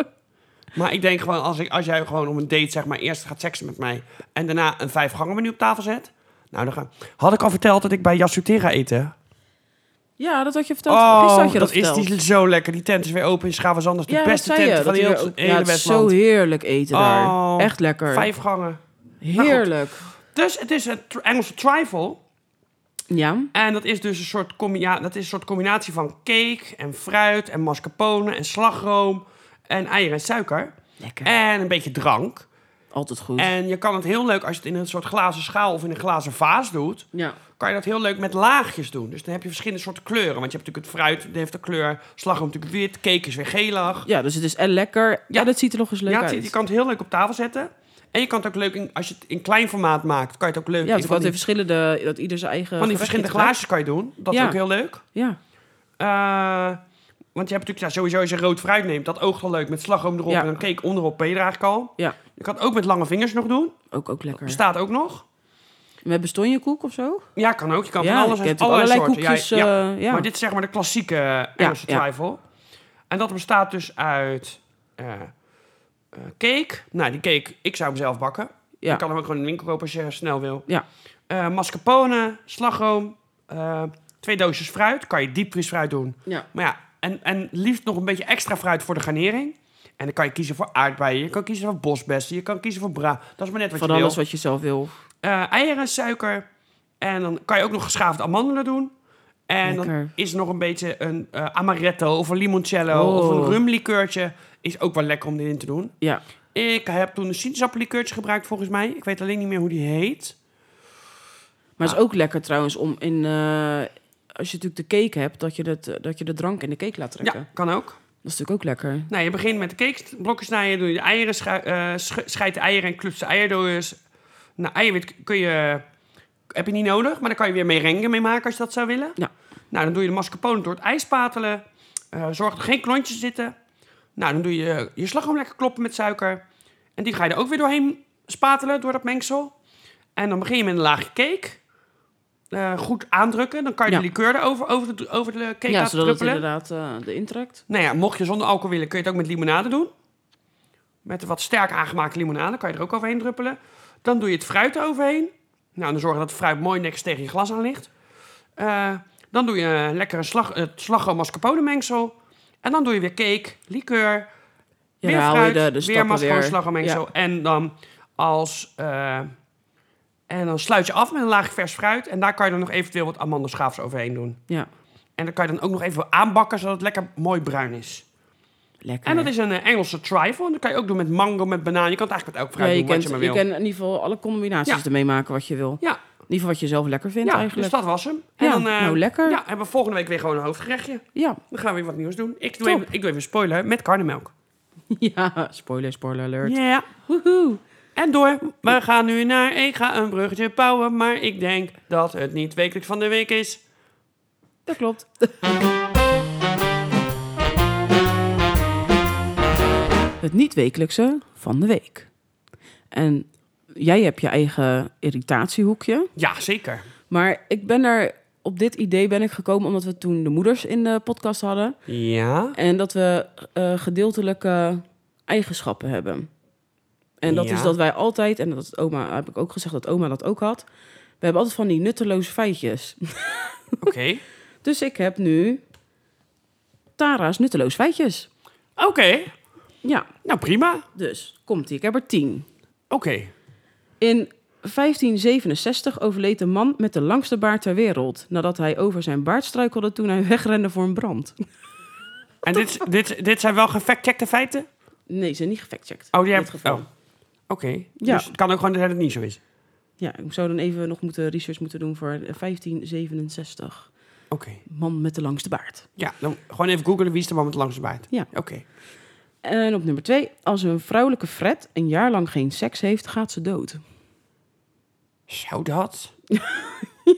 S2: Maar ik denk gewoon, als, ik, als jij gewoon om een date zeg maar eerst gaat seksen met mij en daarna een vijf gangen menu op tafel zet. Nou, dan ga... had ik al verteld dat ik bij Yasutera ga eten.
S1: Ja, dat had je verteld. Gisteren had je dat,
S2: Oh, is
S1: verteld.
S2: die zo lekker. Die tent is weer open in Schavenzanders. De
S1: ja, dat
S2: beste
S1: zei je,
S2: tent van
S1: dat
S2: heel
S1: hij
S2: het
S1: er-
S2: hele
S1: ja, het is zo
S2: Westland.
S1: heerlijk eten
S2: Oh,
S1: daar. Echt lekker.
S2: Vijf gangen.
S1: Heerlijk.
S2: Dus het is een tr- Engelse trifle.
S1: Ja,
S2: En dat is dus een soort, combi- ja, dat is een soort combinatie van cake en fruit en mascarpone en slagroom en eieren en suiker.
S1: lekker.
S2: En een beetje drank.
S1: Altijd goed.
S2: En je kan het heel leuk, als je het in een soort glazen schaal of in een glazen vaas doet,
S1: ja.
S2: kan je dat heel leuk met laagjes doen. Dus dan heb je verschillende soorten kleuren. Want je hebt natuurlijk het fruit, die heeft de kleur, slagroom natuurlijk wit, cake is weer geelig.
S1: ja, dus het is en lekker.
S2: Ja.
S1: Ja, dat ziet er nog eens leuk
S2: ja, het-
S1: uit.
S2: je kan het heel leuk op tafel zetten. En je kan het ook leuk, in, als je het in klein formaat maakt, kan je het ook leuk
S1: ja,
S2: in
S1: want
S2: van
S1: dat
S2: die,
S1: in verschillende... Dat ieder zijn eigen...
S2: van die
S1: gerechtje
S2: verschillende
S1: gebruikt.
S2: glaasjes kan je doen. Dat is
S1: Ja.
S2: ook heel leuk.
S1: Ja,
S2: Eh, want je hebt natuurlijk ja, sowieso als je rood fruit neemt, dat oogt al leuk met slagroom erop
S1: Ja.
S2: en een cake onderop, ben je er eigenlijk al.
S1: ja.
S2: Je kan het ook met lange vingers nog doen.
S1: Ook, ook lekker.
S2: Bestaat ook nog.
S1: Met bestonjekoek of zo?
S2: Ja, kan ook. Je kan
S1: ja,
S2: van alles
S1: ik
S2: uit
S1: heb
S2: allerlei,
S1: allerlei
S2: soorten.
S1: koekjes.
S2: Ja,
S1: eh,
S2: ja.
S1: Ja,
S2: Maar dit is zeg maar de klassieke eh, Engelse
S1: ja.
S2: twijfel. En dat bestaat dus uit eh, eh, cake. Nou, die cake, ik zou hem zelf bakken.
S1: Ja.
S2: Je kan hem ook gewoon in de winkel kopen als je snel wil.
S1: Ja.
S2: Eh, mascarpone, slagroom, eh, twee doosjes fruit. Kan je diepvriesfruit doen.
S1: Ja.
S2: Maar ja, en, en liefst nog een beetje extra fruit voor de garnering. En dan kan je kiezen voor aardbeien, je kan kiezen voor bosbessen, je kan kiezen voor bra. Dat is maar net wat
S1: Van
S2: je wil.
S1: alles wat je zelf wil.
S2: Eh, eieren, suiker. En dan kan je ook nog geschaafde amandelen doen. En dan
S1: Lekker.
S2: is er nog een beetje een eh, amaretto of een limoncello
S1: Oh.
S2: of een rumlikeurtje. Is ook wel lekker om erin te doen.
S1: Ja.
S2: Ik heb toen een sinaasappellikeurtje gebruikt volgens mij. Ik weet alleen niet meer hoe die heet.
S1: Maar
S2: Ah.
S1: het is ook lekker trouwens om in... eh, als je natuurlijk de cake hebt, dat je, het, eh, dat je de drank in de cake laat trekken.
S2: Ja, kan ook.
S1: Dat is natuurlijk ook lekker.
S2: Nou, je begint met de cakeblokjes snijden. Doe je de eieren, scha- eh, sch- scheidt de eieren en klutst de eierdooiers. Nou, eiwit kun je... Heb je niet nodig, maar dan kan je weer merengue mee maken als je dat zou willen.
S1: Ja.
S2: Nou, dan doe je de mascarpone door het ijs patelen. Eh, zorg dat er geen klontjes zitten. Nou, dan doe je je slagroom lekker kloppen met suiker. En die ga je er ook weer doorheen spatelen, door dat mengsel. En dan begin je met een laagje cake. Eh, goed aandrukken. Dan kan je
S1: Ja.
S2: de liqueur erover over de, over de
S1: ja,
S2: cake laten
S1: zodat het
S2: druppelen.
S1: inderdaad eh de intrekt.
S2: Nou ja, mocht je zonder alcohol willen, kun je het ook met limonade doen. Met wat sterk aangemaakte limonade kan je er ook overheen druppelen. Dan doe je het fruit eroverheen. Nou, dan zorgen dat het fruit mooi netjes tegen je glas aan ligt. Eh, dan doe je eh, lekker een slag, het slagroom mascarpone mengsel. En dan doe je weer cake, liqueur,
S1: Ja,
S2: weer
S1: dan haal je
S2: fruit,
S1: de, de
S2: weer
S1: stappen
S2: mascarpone
S1: weer.
S2: slagroommengsel. En dan als... eh, en dan sluit je af met een laag vers fruit. En daar kan je dan nog eventueel wat amandelschaafs overheen doen.
S1: Ja,
S2: En dan kan je dan ook nog even aanbakken, zodat het lekker mooi bruin is.
S1: lekker.
S2: En dat is een eh, Engelse trifle. En dat kan je ook doen met mango, met banaan. Je kan het eigenlijk met elk
S1: ja,
S2: fruit
S1: je,
S2: doen wat
S1: kent,
S2: je maar
S1: je,
S2: wil.
S1: kan in ieder geval alle combinaties
S2: Ja.
S1: ermee maken wat je wil.
S2: Ja,
S1: In ieder geval wat je zelf lekker vindt
S2: ja dus
S1: eigenlijk.
S2: dat was hem.
S1: Ja,
S2: eh,
S1: nou, lekker.
S2: Ja, hebben we volgende week weer gewoon een hoofdgerechtje.
S1: Ja.
S2: Dan gaan we weer wat nieuws doen. Ik doe,
S1: Top.
S2: even, ik doe even een spoiler met karnemelk.
S1: ja, spoiler, spoiler alert.
S2: Ja.
S1: Woehoe.
S2: En door. We gaan nu naar... Ik ga een bruggetje bouwen, maar ik denk dat het niet wekelijks van de week is.
S1: Dat klopt. Het niet-wekelijkse van de week. En jij hebt je eigen irritatiehoekje.
S2: Ja, zeker.
S1: Maar ik ben er op dit idee ben ik gekomen omdat we toen de moeders in de podcast hadden.
S2: Ja.
S1: En dat we eh, gedeeltelijke eigenschappen hebben. En dat
S2: Ja.
S1: is dat wij altijd, en dat is oma, heb ik ook gezegd dat oma dat ook had. We hebben altijd van die nutteloze feitjes.
S2: Oké.
S1: Dus ik heb nu Tara's nutteloos feitjes.
S2: Oké.
S1: Ja,
S2: Nou, prima. Oké.
S1: dus komt ie. Ik heb er tien. In 1567 overleed een man met de langste baard ter wereld. Nadat hij over zijn baard struikelde toen hij wegrende voor een brand.
S2: En dit, is- dit, dit zijn wel gefactcheckte feiten?
S1: Nee, ze zijn niet gefactcheckt.
S2: Oh, die
S1: In
S2: hebt...
S1: dit
S2: Oh. Oké.
S1: Ja.
S2: Dus het kan ook gewoon zijn dat het niet zo is.
S1: Ja, ik zou dan even nog moeten research moeten doen voor eh, 1567.
S2: Oké.
S1: Man met de langste baard.
S2: Ja, dan gewoon even googelen wie is de man met de langste baard.
S1: Ja.
S2: Oké.
S1: En op nummer twee. Als een vrouwelijke fret een jaar lang geen seks heeft, gaat ze dood.
S2: Zou dat?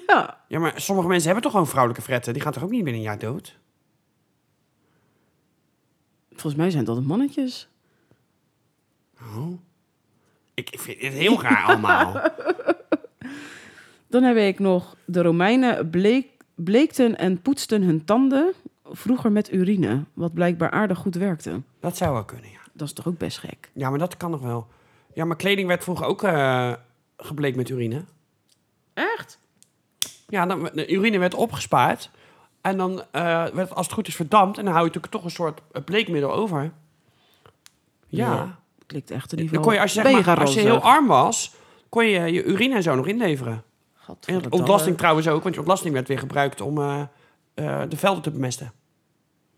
S1: Ja.
S2: Ja, maar sommige mensen hebben toch gewoon vrouwelijke fretten? Die gaan toch ook niet binnen een jaar dood?
S1: Volgens mij zijn dat de mannetjes.
S2: Ik ik vind het heel raar allemaal.
S1: Dan heb ik nog de Romeinen bleek, bleekten en poetsten hun tanden vroeger met urine, wat blijkbaar aardig goed werkte.
S2: Dat zou wel kunnen, ja.
S1: Dat is toch ook best gek.
S2: Ja, maar dat kan nog wel. Ja, maar kleding werd vroeger ook eh, gebleekt met urine.
S1: Echt?
S2: Ja, dan, de urine werd opgespaard. En dan eh, werd het als het goed is verdampt. En dan hou je natuurlijk toch een soort eh, bleekmiddel over. Ja.
S1: Ja, Klikt echt in ieder geval.
S2: Dan kon je, als je, zeg maar, als je heel arm was, kon je je urine en zo nog inleveren. En
S1: eh,
S2: ontlasting trouwens ook, want je ontlasting werd weer gebruikt om eh, eh, de velden te bemesten.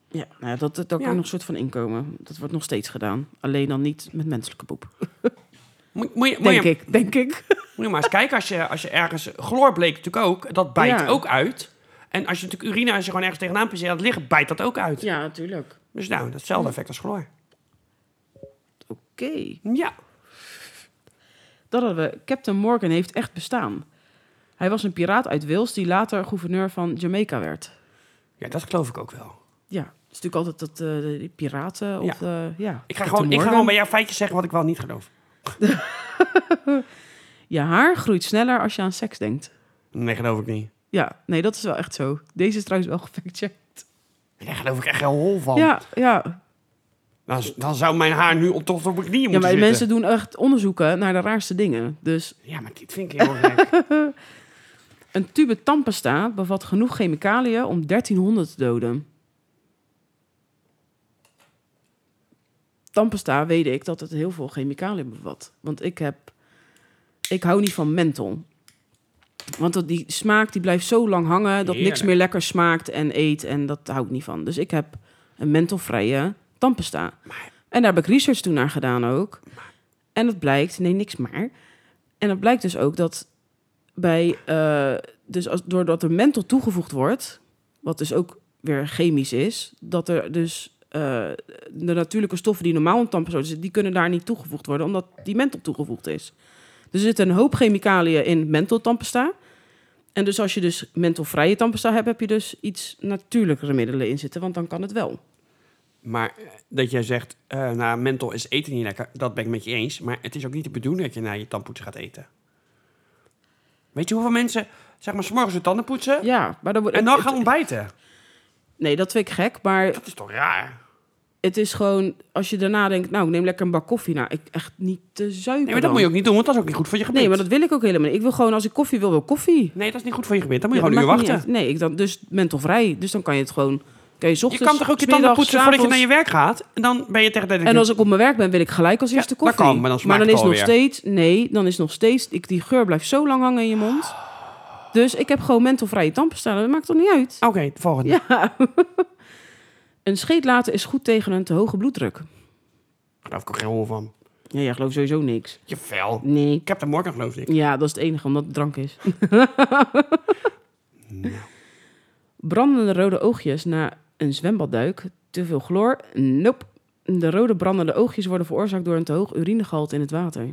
S1: Ja, nou, ja, dat, dat, daar
S2: Ja.
S1: kan nog een soort van inkomen. Dat wordt nog steeds gedaan. Alleen dan niet met menselijke poep.
S2: Moet, moet, je, moet,
S1: Denk
S2: je,
S1: ik, denk ik.
S2: moet je maar eens kijken, als je, als je ergens... Chloor bleek natuurlijk ook, dat bijt
S1: Ja.
S2: ook uit. En als je natuurlijk urine, als je gewoon ergens tegenaan pisseert aan het liggen, bijt dat ook uit.
S1: Ja, natuurlijk.
S2: Dus nou, datzelfde effect als chloor.
S1: Oké.
S2: Ja.
S1: Dat hadden we. Captain Morgan heeft echt bestaan. Hij was een piraat uit Wales die later gouverneur van Jamaica werd.
S2: ja, dat geloof ik ook wel.
S1: Ja, het is natuurlijk altijd dat eh, de- die piraten of... Ja. ja.
S2: Ik ga,
S1: Captain
S2: gewoon, ik ga
S1: Morgan.
S2: gewoon bij jouw feitjes zeggen wat ik wel niet geloof.
S1: Je haar groeit sneller als je aan seks denkt.
S2: Nee, geloof ik niet.
S1: Ja, nee, dat is wel echt zo. Deze is trouwens wel gefactcheckt.
S2: Daar geloof ik echt heel hol van.
S1: Ja, ja.
S2: Dan, dan zou mijn haar nu op, tot op mijn knieën
S1: ja,
S2: moeten
S1: maar
S2: zitten.
S1: mensen doen echt onderzoeken naar de raarste dingen. Dus
S2: Ja, maar dit vind ik heel gek.
S1: een tube tandpasta bevat genoeg chemicaliën om 1300 te doden. Tandpasta weet ik dat het heel veel chemicaliën bevat. Want ik heb... Ik hou niet van menthol. Want dat, die smaak die blijft zo lang hangen... dat niks
S2: Heerlijk.
S1: meer lekker smaakt en eet. En dat hou ik niet van. Dus ik heb een mentholvrije tandpasta.
S2: Maar-
S1: En daar heb ik research toen naar gedaan ook. En dat blijkt... Nee, niks maar. En dat blijkt dus ook dat bij... eh, dus als, doordat er menthol toegevoegd wordt... wat dus ook weer chemisch is... dat er dus... eh, de natuurlijke stoffen die normaal in tandpasta zitten... die kunnen daar niet toegevoegd worden... omdat die menthol toegevoegd is. Dus Er zitten een hoop chemicaliën in mentholtandpasta. En dus als je dus mentholvrije tandpasta hebt... heb je dus iets natuurlijkere middelen in zitten... want dan kan het wel.
S2: Maar eh, dat jij zegt, eh nou, menthol is eten niet lekker, dat ben ik met je eens. Maar het is ook niet de bedoeling dat je na je tandpoetsen gaat eten. Weet je hoeveel mensen, zeg maar, 's morgens hun tanden poetsen
S1: Ja, maar dan wordt...
S2: en dan
S1: het-
S2: gaan ontbijten?
S1: Nee, dat vind ik gek, maar...
S2: Dat is toch raar?
S1: Het is gewoon, als je daarna denkt, nou, ik neem lekker een bak koffie. Nou, ik echt niet te zuipen.
S2: Nee, maar dat moet je ook niet doen, want dat is ook niet goed voor je gebit.
S1: Nee, maar dat wil ik ook helemaal niet. Ik wil gewoon, als ik koffie wil, wil ik koffie.
S2: Nee, dat is niet goed voor je gebit. Dan moet
S1: Ja,
S2: je
S1: dat
S2: gewoon een
S1: maakt
S2: uur
S1: niet uit.
S2: wachten.
S1: Nee, ik dan, dus mentalvrij. Dus dan kan je het gewoon... Kan je, 's
S2: Je
S1: ochtends,
S2: kan toch ook je
S1: Dus smiddags,
S2: tanden poetsen voordat je
S1: s'avonds-
S2: naar je werk gaat? En dan ben je tegen de tijd dat
S1: En
S2: je-
S1: als ik op mijn werk ben, wil ik gelijk als eerste
S2: dat
S1: koffie.
S2: kan, maar dan smaakt
S1: dan
S2: het
S1: is nog
S2: alweer.
S1: steeds... Nee, dan is nog steeds... Ik, die geur blijft zo lang hangen in je mond. Dus ik heb gewoon mentalvrije tandpasta. Dat maakt toch niet uit?
S2: Oké, de volgende.
S1: Ja. een scheet laten is goed tegen een te hoge bloeddruk.
S2: Geloof ik ook geen hol van.
S1: Ja, jij gelooft sowieso niks.
S2: Jawel.
S1: Nee.
S2: Ik heb de morgen geloof ik.
S1: Ja, dat is het enige, omdat het drank is. Brandende rode oogjes na een zwembadduik. Te veel chloor? Nope. De rode brandende oogjes worden veroorzaakt door een te hoog urinegehalte in het water.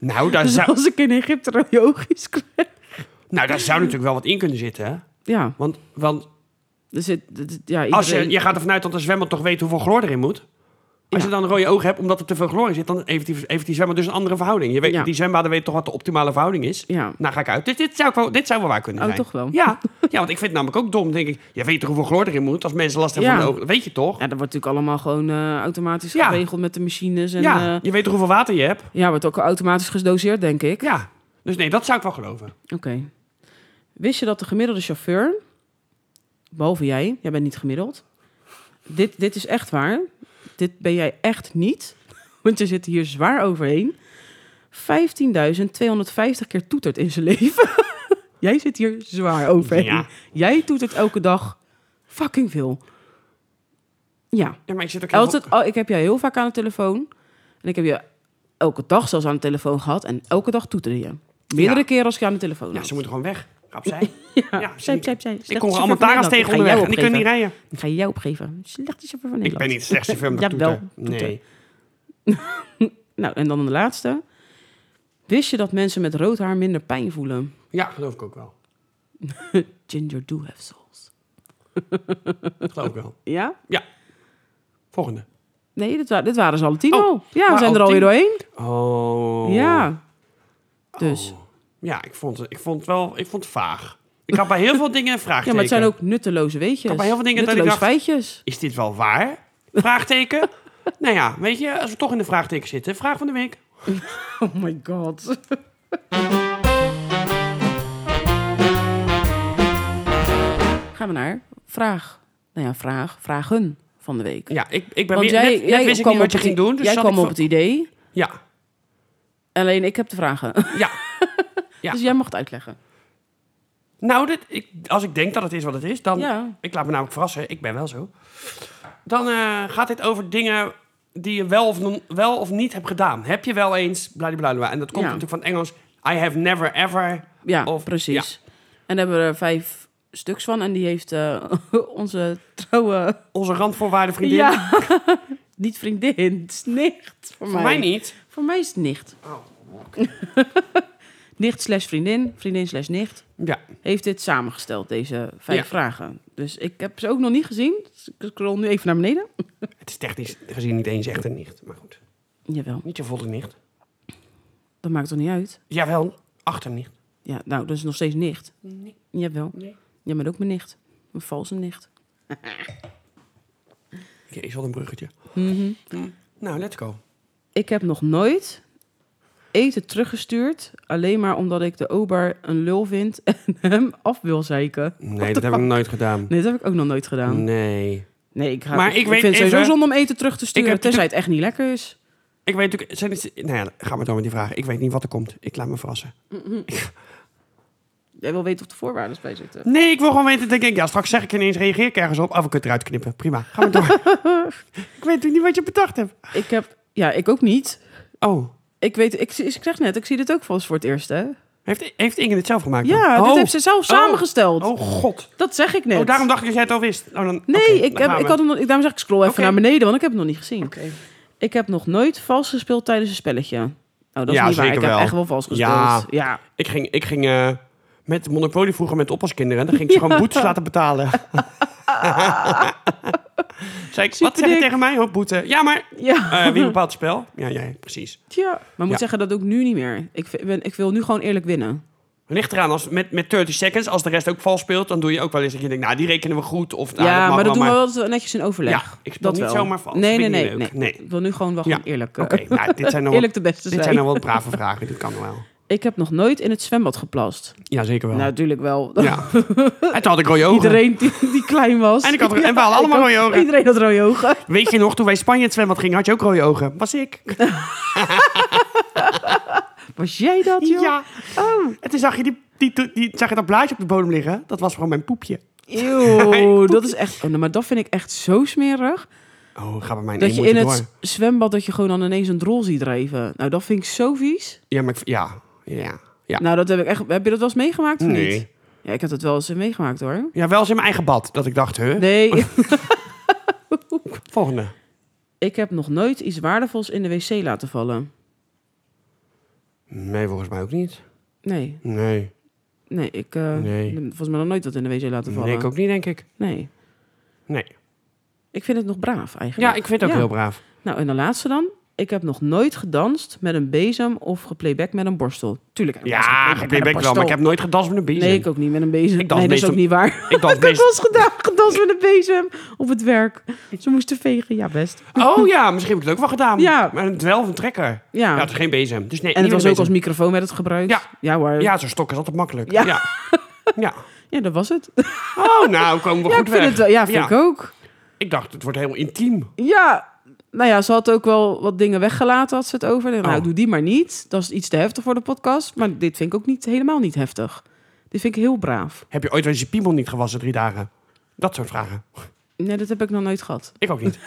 S2: Nou, daar
S1: Dus
S2: zou,
S1: als ik in Egypte rode oogjes krijg...
S2: nou, daar zou natuurlijk wel wat in kunnen zitten. hè?
S1: Ja,
S2: Want, want
S1: er zit... er zit- Ja,
S2: als je,
S1: iedereen-
S2: je gaat ervan uit dat de zwemmer toch weet hoeveel chloor erin moet. Als je dan een rode oog hebt omdat er te veel glorie zit, dan heeft die, heeft die zwemmer dus een andere verhouding. Je weet,
S1: Ja.
S2: Die zwembaden weten toch wat de optimale verhouding is?
S1: Ja.
S2: Nou ga ik uit. Dus dit zou, ik wel, dit zou wel waar kunnen
S1: Oh,
S2: zijn.
S1: toch wel?
S2: Ja. ja, want ik vind het namelijk ook dom. denk ik, je weet toch hoeveel chloor erin moet als mensen last hebben
S1: Ja.
S2: van de ogen? Dat weet je toch?
S1: Ja, dat wordt natuurlijk allemaal gewoon eh, automatisch
S2: Ja.
S1: geregeld met de machines. En,
S2: ja,
S1: eh,
S2: je weet toch hoeveel water je hebt?
S1: ja, wordt ook automatisch gedoseerd, denk ik.
S2: Ja. Dus nee, dat zou ik wel geloven.
S1: Oké. Wist je dat de gemiddelde chauffeur, behalve jij, jij bent niet gemiddeld. Dit, dit is echt waar. Dit ben jij echt niet. Want je zit hier zwaar overheen. 15.250 keer toetert in zijn leven. jij zit hier zwaar overheen.
S2: Ja.
S1: Jij toetert elke dag fucking veel. Ja.
S2: Ja, maar ik zit ook heel
S1: Altijd, oh, ik heb jou heel vaak aan de telefoon. En ik heb je elke dag zelfs aan de telefoon gehad. En elke dag toeterde je. Meerdere
S2: Ja.
S1: keren als ik je aan de telefoon
S2: Ja,
S1: had.
S2: ze moeten gewoon weg. Ga opzij.
S1: Ja, zijp, zijp, zijp. Slechte
S2: Ik kom
S1: chauffeur
S2: allemaal
S1: van
S2: tara's
S1: Nederland.
S2: tegen
S1: Ik ga
S2: onderweg
S1: jou
S2: en die kunnen niet
S1: opgeven.
S2: rijden.
S1: Ik ga jou opgeven. Slechte chauffeur van
S2: Ik
S1: Nederland.
S2: ben niet slechts chauffeur met
S1: Ja,
S2: toeter.
S1: wel, toeter.
S2: Nee.
S1: Nou, en dan de laatste. Wist je dat mensen met rood haar minder pijn voelen?
S2: Ja, geloof ik ook wel.
S1: Ginger do have souls.
S2: Geloof ik wel.
S1: Ja?
S2: Ja. Volgende.
S1: Nee, dit, wa- dit waren ze alle tien
S2: Oh,
S1: al. Ja, we
S2: maar
S1: zijn er
S2: al
S1: alweer
S2: tien?
S1: doorheen.
S2: Oh.
S1: Ja. Dus.
S2: Ja, ik vond, het- ik vond het wel ik vond het vaag. Ik had bij heel veel dingen een vraagteken.
S1: Ja, maar het zijn ook nutteloze weetjes.
S2: had bij heel veel dingen dat ik
S1: nutteloze
S2: dacht-
S1: feitjes.
S2: Is dit wel waar? Vraagteken? nou ja, weet je, als we toch in de vraagteken zitten. Vraag van de week.
S1: Oh my god. Gaan we naar vraag. Nou ja, vraag. Vragen van de week.
S2: Ja, ik, ik ben
S1: Want
S2: weer...
S1: jij,
S2: net, net
S1: jij
S2: wist ik
S1: kwam
S2: niet
S1: op
S2: wat je
S1: het
S2: ging
S1: i-
S2: doen. Dus
S1: jij
S2: zat
S1: kwam
S2: ik
S1: op
S2: van-
S1: het idee.
S2: Ja,
S1: Alleen ik heb de vragen.
S2: ja. Ja.
S1: Dus jij mag het uitleggen.
S2: Nou, dit, ik, als ik denk dat het is wat het is, dan...
S1: Ja.
S2: Ik laat me namelijk verrassen, ik ben wel zo. Dan eh, gaat dit over dingen die je wel of, non- wel of niet hebt gedaan. Heb je wel eens... Bladibladibla. En dat komt
S1: Ja.
S2: natuurlijk van het Engels. I have never ever...
S1: Ja,
S2: Of-
S1: precies. En daar hebben we er vijf stuks van. En die heeft eh, onze trouwe...
S2: Onze randvoorwaarde vriendin.
S1: Ja. niet vriendin. Het is nicht. Voor,
S2: Voor mij niet.
S1: Voor mij is het nicht. nicht slash vriendin. Vriendin slash nicht.
S2: Ja.
S1: heeft dit samengesteld, deze vijf
S2: Ja.
S1: vragen. Dus ik heb ze ook nog niet gezien. Dus ik scroll nu even naar beneden.
S2: Het is technisch gezien niet eens echt een nicht. Maar goed,
S1: Jawel,
S2: niet je volle nicht.
S1: dat maakt toch niet uit?
S2: Jawel, achternicht.
S1: Ja, nou, dat is nog steeds nicht.
S2: Nee.
S1: Jawel.
S2: Nee.
S1: Jij bent ook mijn nicht. Een valse nicht.
S2: Ja, is wel een bruggetje. Mm. Nou, let's go.
S1: Mhm. Ik heb nog nooit eten teruggestuurd... alleen maar omdat ik de ober een lul vind en hem af wil zeiken.
S2: Nee, dat heb ik nooit gedaan.
S1: Nee, dat heb ik ook nog nooit gedaan.
S2: Nee.
S1: Nee, ik, ga,
S2: Maar ik weet
S1: vind het sowieso
S2: even-
S1: zonde om eten terug te sturen...
S2: heb-
S1: tenzij het echt niet lekker is.
S2: Ik weet natuurlijk... Zijn het, nou ja, ga maar door met die vragen. Ik weet niet wat er komt. Ik laat me verrassen.
S1: Jij wil weten of de voorwaarden bij zitten.
S2: Nee, ik wil gewoon weten. denk ik, ja, straks zeg ik ineens, reageer ik ergens op. Af en het eruit knippen. Prima, ga maar door. ik weet natuurlijk niet wat je bedacht hebt.
S1: Ik heb... Ja, ik ook niet.
S2: Oh,
S1: Ik weet, ik, ik zeg net, ik zie dit ook vast voor het eerst, hè?
S2: heeft, heeft Inge dit zelf gemaakt?
S1: Ja,
S2: dan?
S1: dit
S2: Oh.
S1: heeft ze zelf samengesteld.
S2: Oh, god.
S1: Dat zeg ik net.
S2: Oh, daarom dacht ik dat jij het al wist. Oh, dan,
S1: Nee,
S2: oké,
S1: ik,
S2: dan
S1: heb,
S2: gaan
S1: ik
S2: we.
S1: had hem nog, ik, daarom zeg ik scroll even
S2: Oké.
S1: naar beneden, want ik heb het nog niet gezien.
S2: Oké.
S1: Ik heb nog nooit vals gespeeld tijdens een spelletje. Oh, dat is
S2: Ja,
S1: niet waar. Ik
S2: zeker
S1: heb
S2: wel.
S1: echt wel vals gespeeld.
S2: Ja.
S1: Ja.
S2: Ik ging, ik ging eh, met Monopoly vroeger met oppaskinderen. Dan ging ik ze gewoon boetes laten betalen. Zei ik, wat zeg je
S1: Superdik.
S2: tegen mij? Hoop boete. Ja, maar
S1: Ja.
S2: eh, wie bepaalt het spel? Ja, jij, precies.
S1: Tja. Maar ik moet
S2: Ja.
S1: zeggen, dat doe ik nu niet meer. Ik, v- ben, ik wil nu gewoon eerlijk winnen.
S2: Ligt eraan, als, met, met 30 seconds, als de rest ook vals speelt... dan doe je ook wel eens dat je denkt, nou, die rekenen we goed. Of, nou,
S1: ja,
S2: mag
S1: maar dat
S2: wel,
S1: doen we wel altijd netjes in overleg.
S2: Ja, ik speel
S1: dat
S2: niet
S1: wel.
S2: zomaar vals.
S1: Nee,
S2: Vind
S1: nee,
S2: ik
S1: nee,
S2: niet
S1: nee,
S2: leuk. Nee.
S1: Ik wil nu gewoon wel
S2: Ja.
S1: gewoon eerlijk. eh,
S2: Oké, nou, dit zijn nog wel,
S1: eerlijk de beste
S2: dit
S1: zijn.
S2: zijn nog wel brave vragen. Dit kan nog wel.
S1: Ik heb nog nooit in het zwembad geplast.
S2: Ja, zeker wel.
S1: Nou, natuurlijk wel.
S2: ja. En toen had ik rode ogen.
S1: Iedereen die, die klein was.
S2: En ik had- en we hadden
S1: Ja, ik
S2: allemaal
S1: ook.
S2: rode ogen.
S1: Iedereen had rode ogen.
S2: Weet je nog, toen wij Spanje het zwembad gingen, had je ook rode ogen. Was ik.
S1: Was jij dat, joh?
S2: Ja. En toen zag je, die, die, die, zag je dat blaadje op de bodem liggen. Dat was gewoon mijn poepje.
S1: Eeuw, dat is echt... oh, nou, maar dat vind ik echt zo smerig.
S2: Oh, ga bij mijn
S1: Dat
S2: één
S1: je in
S2: mondje
S1: het
S2: door.
S1: zwembad... dat je gewoon dan ineens een drol ziet drijven. Nou, dat vind ik zo vies.
S2: Ja, maar ik, ja. Ja. ja.
S1: Nou, dat heb ik echt... Heb je dat wel eens meegemaakt of
S2: Nee.
S1: niet? Ja, ik heb dat wel eens meegemaakt, hoor.
S2: ja, wel eens in mijn eigen bad. Dat ik dacht, huh?
S1: Nee,
S2: Volgende.
S1: ik heb nog nooit iets waardevols in de wc laten vallen.
S2: Nee, volgens mij ook niet.
S1: Nee,
S2: Nee.
S1: nee, ik... eh,
S2: Nee.
S1: heb Volgens mij nog nooit dat in de wc laten vallen.
S2: Nee, ik ook niet, denk ik.
S1: Nee.
S2: Nee.
S1: Ik vind het nog braaf, eigenlijk.
S2: Ja, ik vind het ook heel braaf.
S1: braaf. Nou, en de laatste dan. Ik heb nog nooit gedanst met een bezem of geplayback met een borstel. Tuurlijk. heb ik wel eens
S2: Ja,
S1: geplayback met een
S2: geplayback wel, maar ik heb
S1: borstel.
S2: nooit gedanst met een bezem.
S1: Nee, ik ook niet met een bezem.
S2: Ik dans
S1: nee, dat is
S2: meestal-
S1: ook niet waar.
S2: Ik dans
S1: ik heb wel
S2: meestal-
S1: eens gedaan, gedanst met een bezem op het werk. Ze moesten vegen, ja best.
S2: Oh ja, misschien heb ik het ook wel gedaan.
S1: Ja.
S2: Maar een dwel of een trekker.
S1: Ja.
S2: Ja, het is geen bezem. Dus nee,
S1: en
S2: niet
S1: het was
S2: met
S1: ook als
S2: bezem.
S1: microfoon werd het gebruikt.
S2: Ja.
S1: ja hoor. Ja.
S2: Ja, zo'n stok is altijd makkelijk.
S1: Ja.
S2: Ja. Ja.
S1: dat was het.
S2: Oh, nou, komen we
S1: Ja, ik
S2: goed
S1: vind
S2: weg.
S1: het, wel- ja, vind ik ook.
S2: Ik dacht, het wordt heel intiem.
S1: Ja, nou ja, ze had ook wel wat dingen weggelaten, had ze het over. Nou,
S2: Oh.
S1: ik doe die maar niet. Dat is iets te heftig voor de podcast. Maar dit vind ik ook niet, helemaal niet heftig. Dit vind ik heel braaf.
S2: Heb je ooit wel eens je piemel niet gewassen drie dagen? Dat soort vragen.
S1: Nee, dat heb ik nog nooit gehad.
S2: Ik ook niet.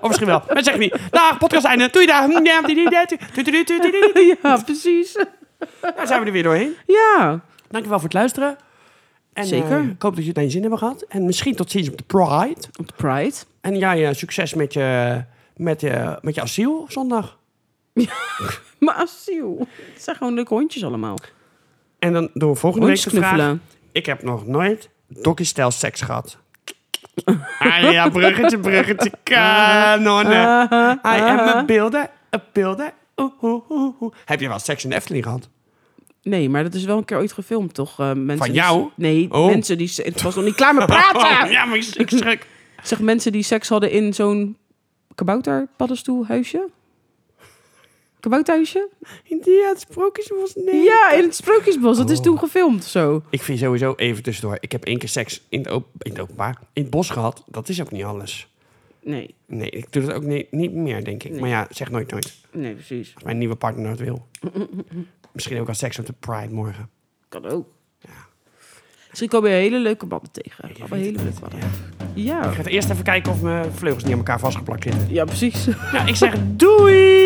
S2: of misschien wel. Maar zeg niet. Dag, podcast einde. Doei dag. Daar
S1: ja, precies.
S2: zijn we er weer doorheen.
S1: Ja.
S2: Dankjewel voor het luisteren. En, eh,
S1: Zeker.
S2: ik hoop dat je het naar je zin hebben gehad. En misschien tot ziens op de Pride.
S1: Op de Pride.
S2: En jij eh, succes met je, met, je, met je asiel zondag.
S1: Maar asiel. Het zijn gewoon leuke hondjes allemaal.
S2: En dan doen we volgende week
S1: Hondjes
S2: de vraag.
S1: knuffelen.
S2: Ik heb nog nooit doggystyle seks gehad. ah ja, bruggetje, bruggetje, kanonnen. I am a builder, a builder. Oeh, oeh, oeh, oeh. eh, Heb je wel seks in de Efteling gehad?
S1: Nee, maar dat is wel een keer ooit gefilmd, toch? Eh, mensen
S2: Van
S1: die-
S2: jou?
S1: nee,
S2: Oh.
S1: mensen die... Het was nog niet klaar met praten!
S2: Oh, ja, maar ik, ik schrik.
S1: Zeg, mensen die seks hadden in zo'n kabouter paddenstoelhuisje? Kabouterhuisje?
S2: India, het sprookjes was nee.
S1: Ja, in het Sprookjesbos. Dat is toen gefilmd, zo.
S2: Ik vind sowieso even tussendoor. Ik heb één keer seks in het, op- in het openbaar, in het bos gehad. Dat is ook niet alles.
S1: Nee,
S2: Nee, ik doe dat ook niet, niet meer, denk ik. Maar ja, zeg nooit nooit.
S1: nee, precies.
S2: Als mijn nieuwe partner dat wil. Misschien ook al seks op de Pride morgen.
S1: Kan ook. Misschien komen je hele leuke mannen tegen. Allemaal hele leuke mannen. Ja,
S2: Ik ga eerst even kijken of mijn vleugels niet aan elkaar vastgeplakt zitten.
S1: ja precies.
S2: Nou, ik zeg doei!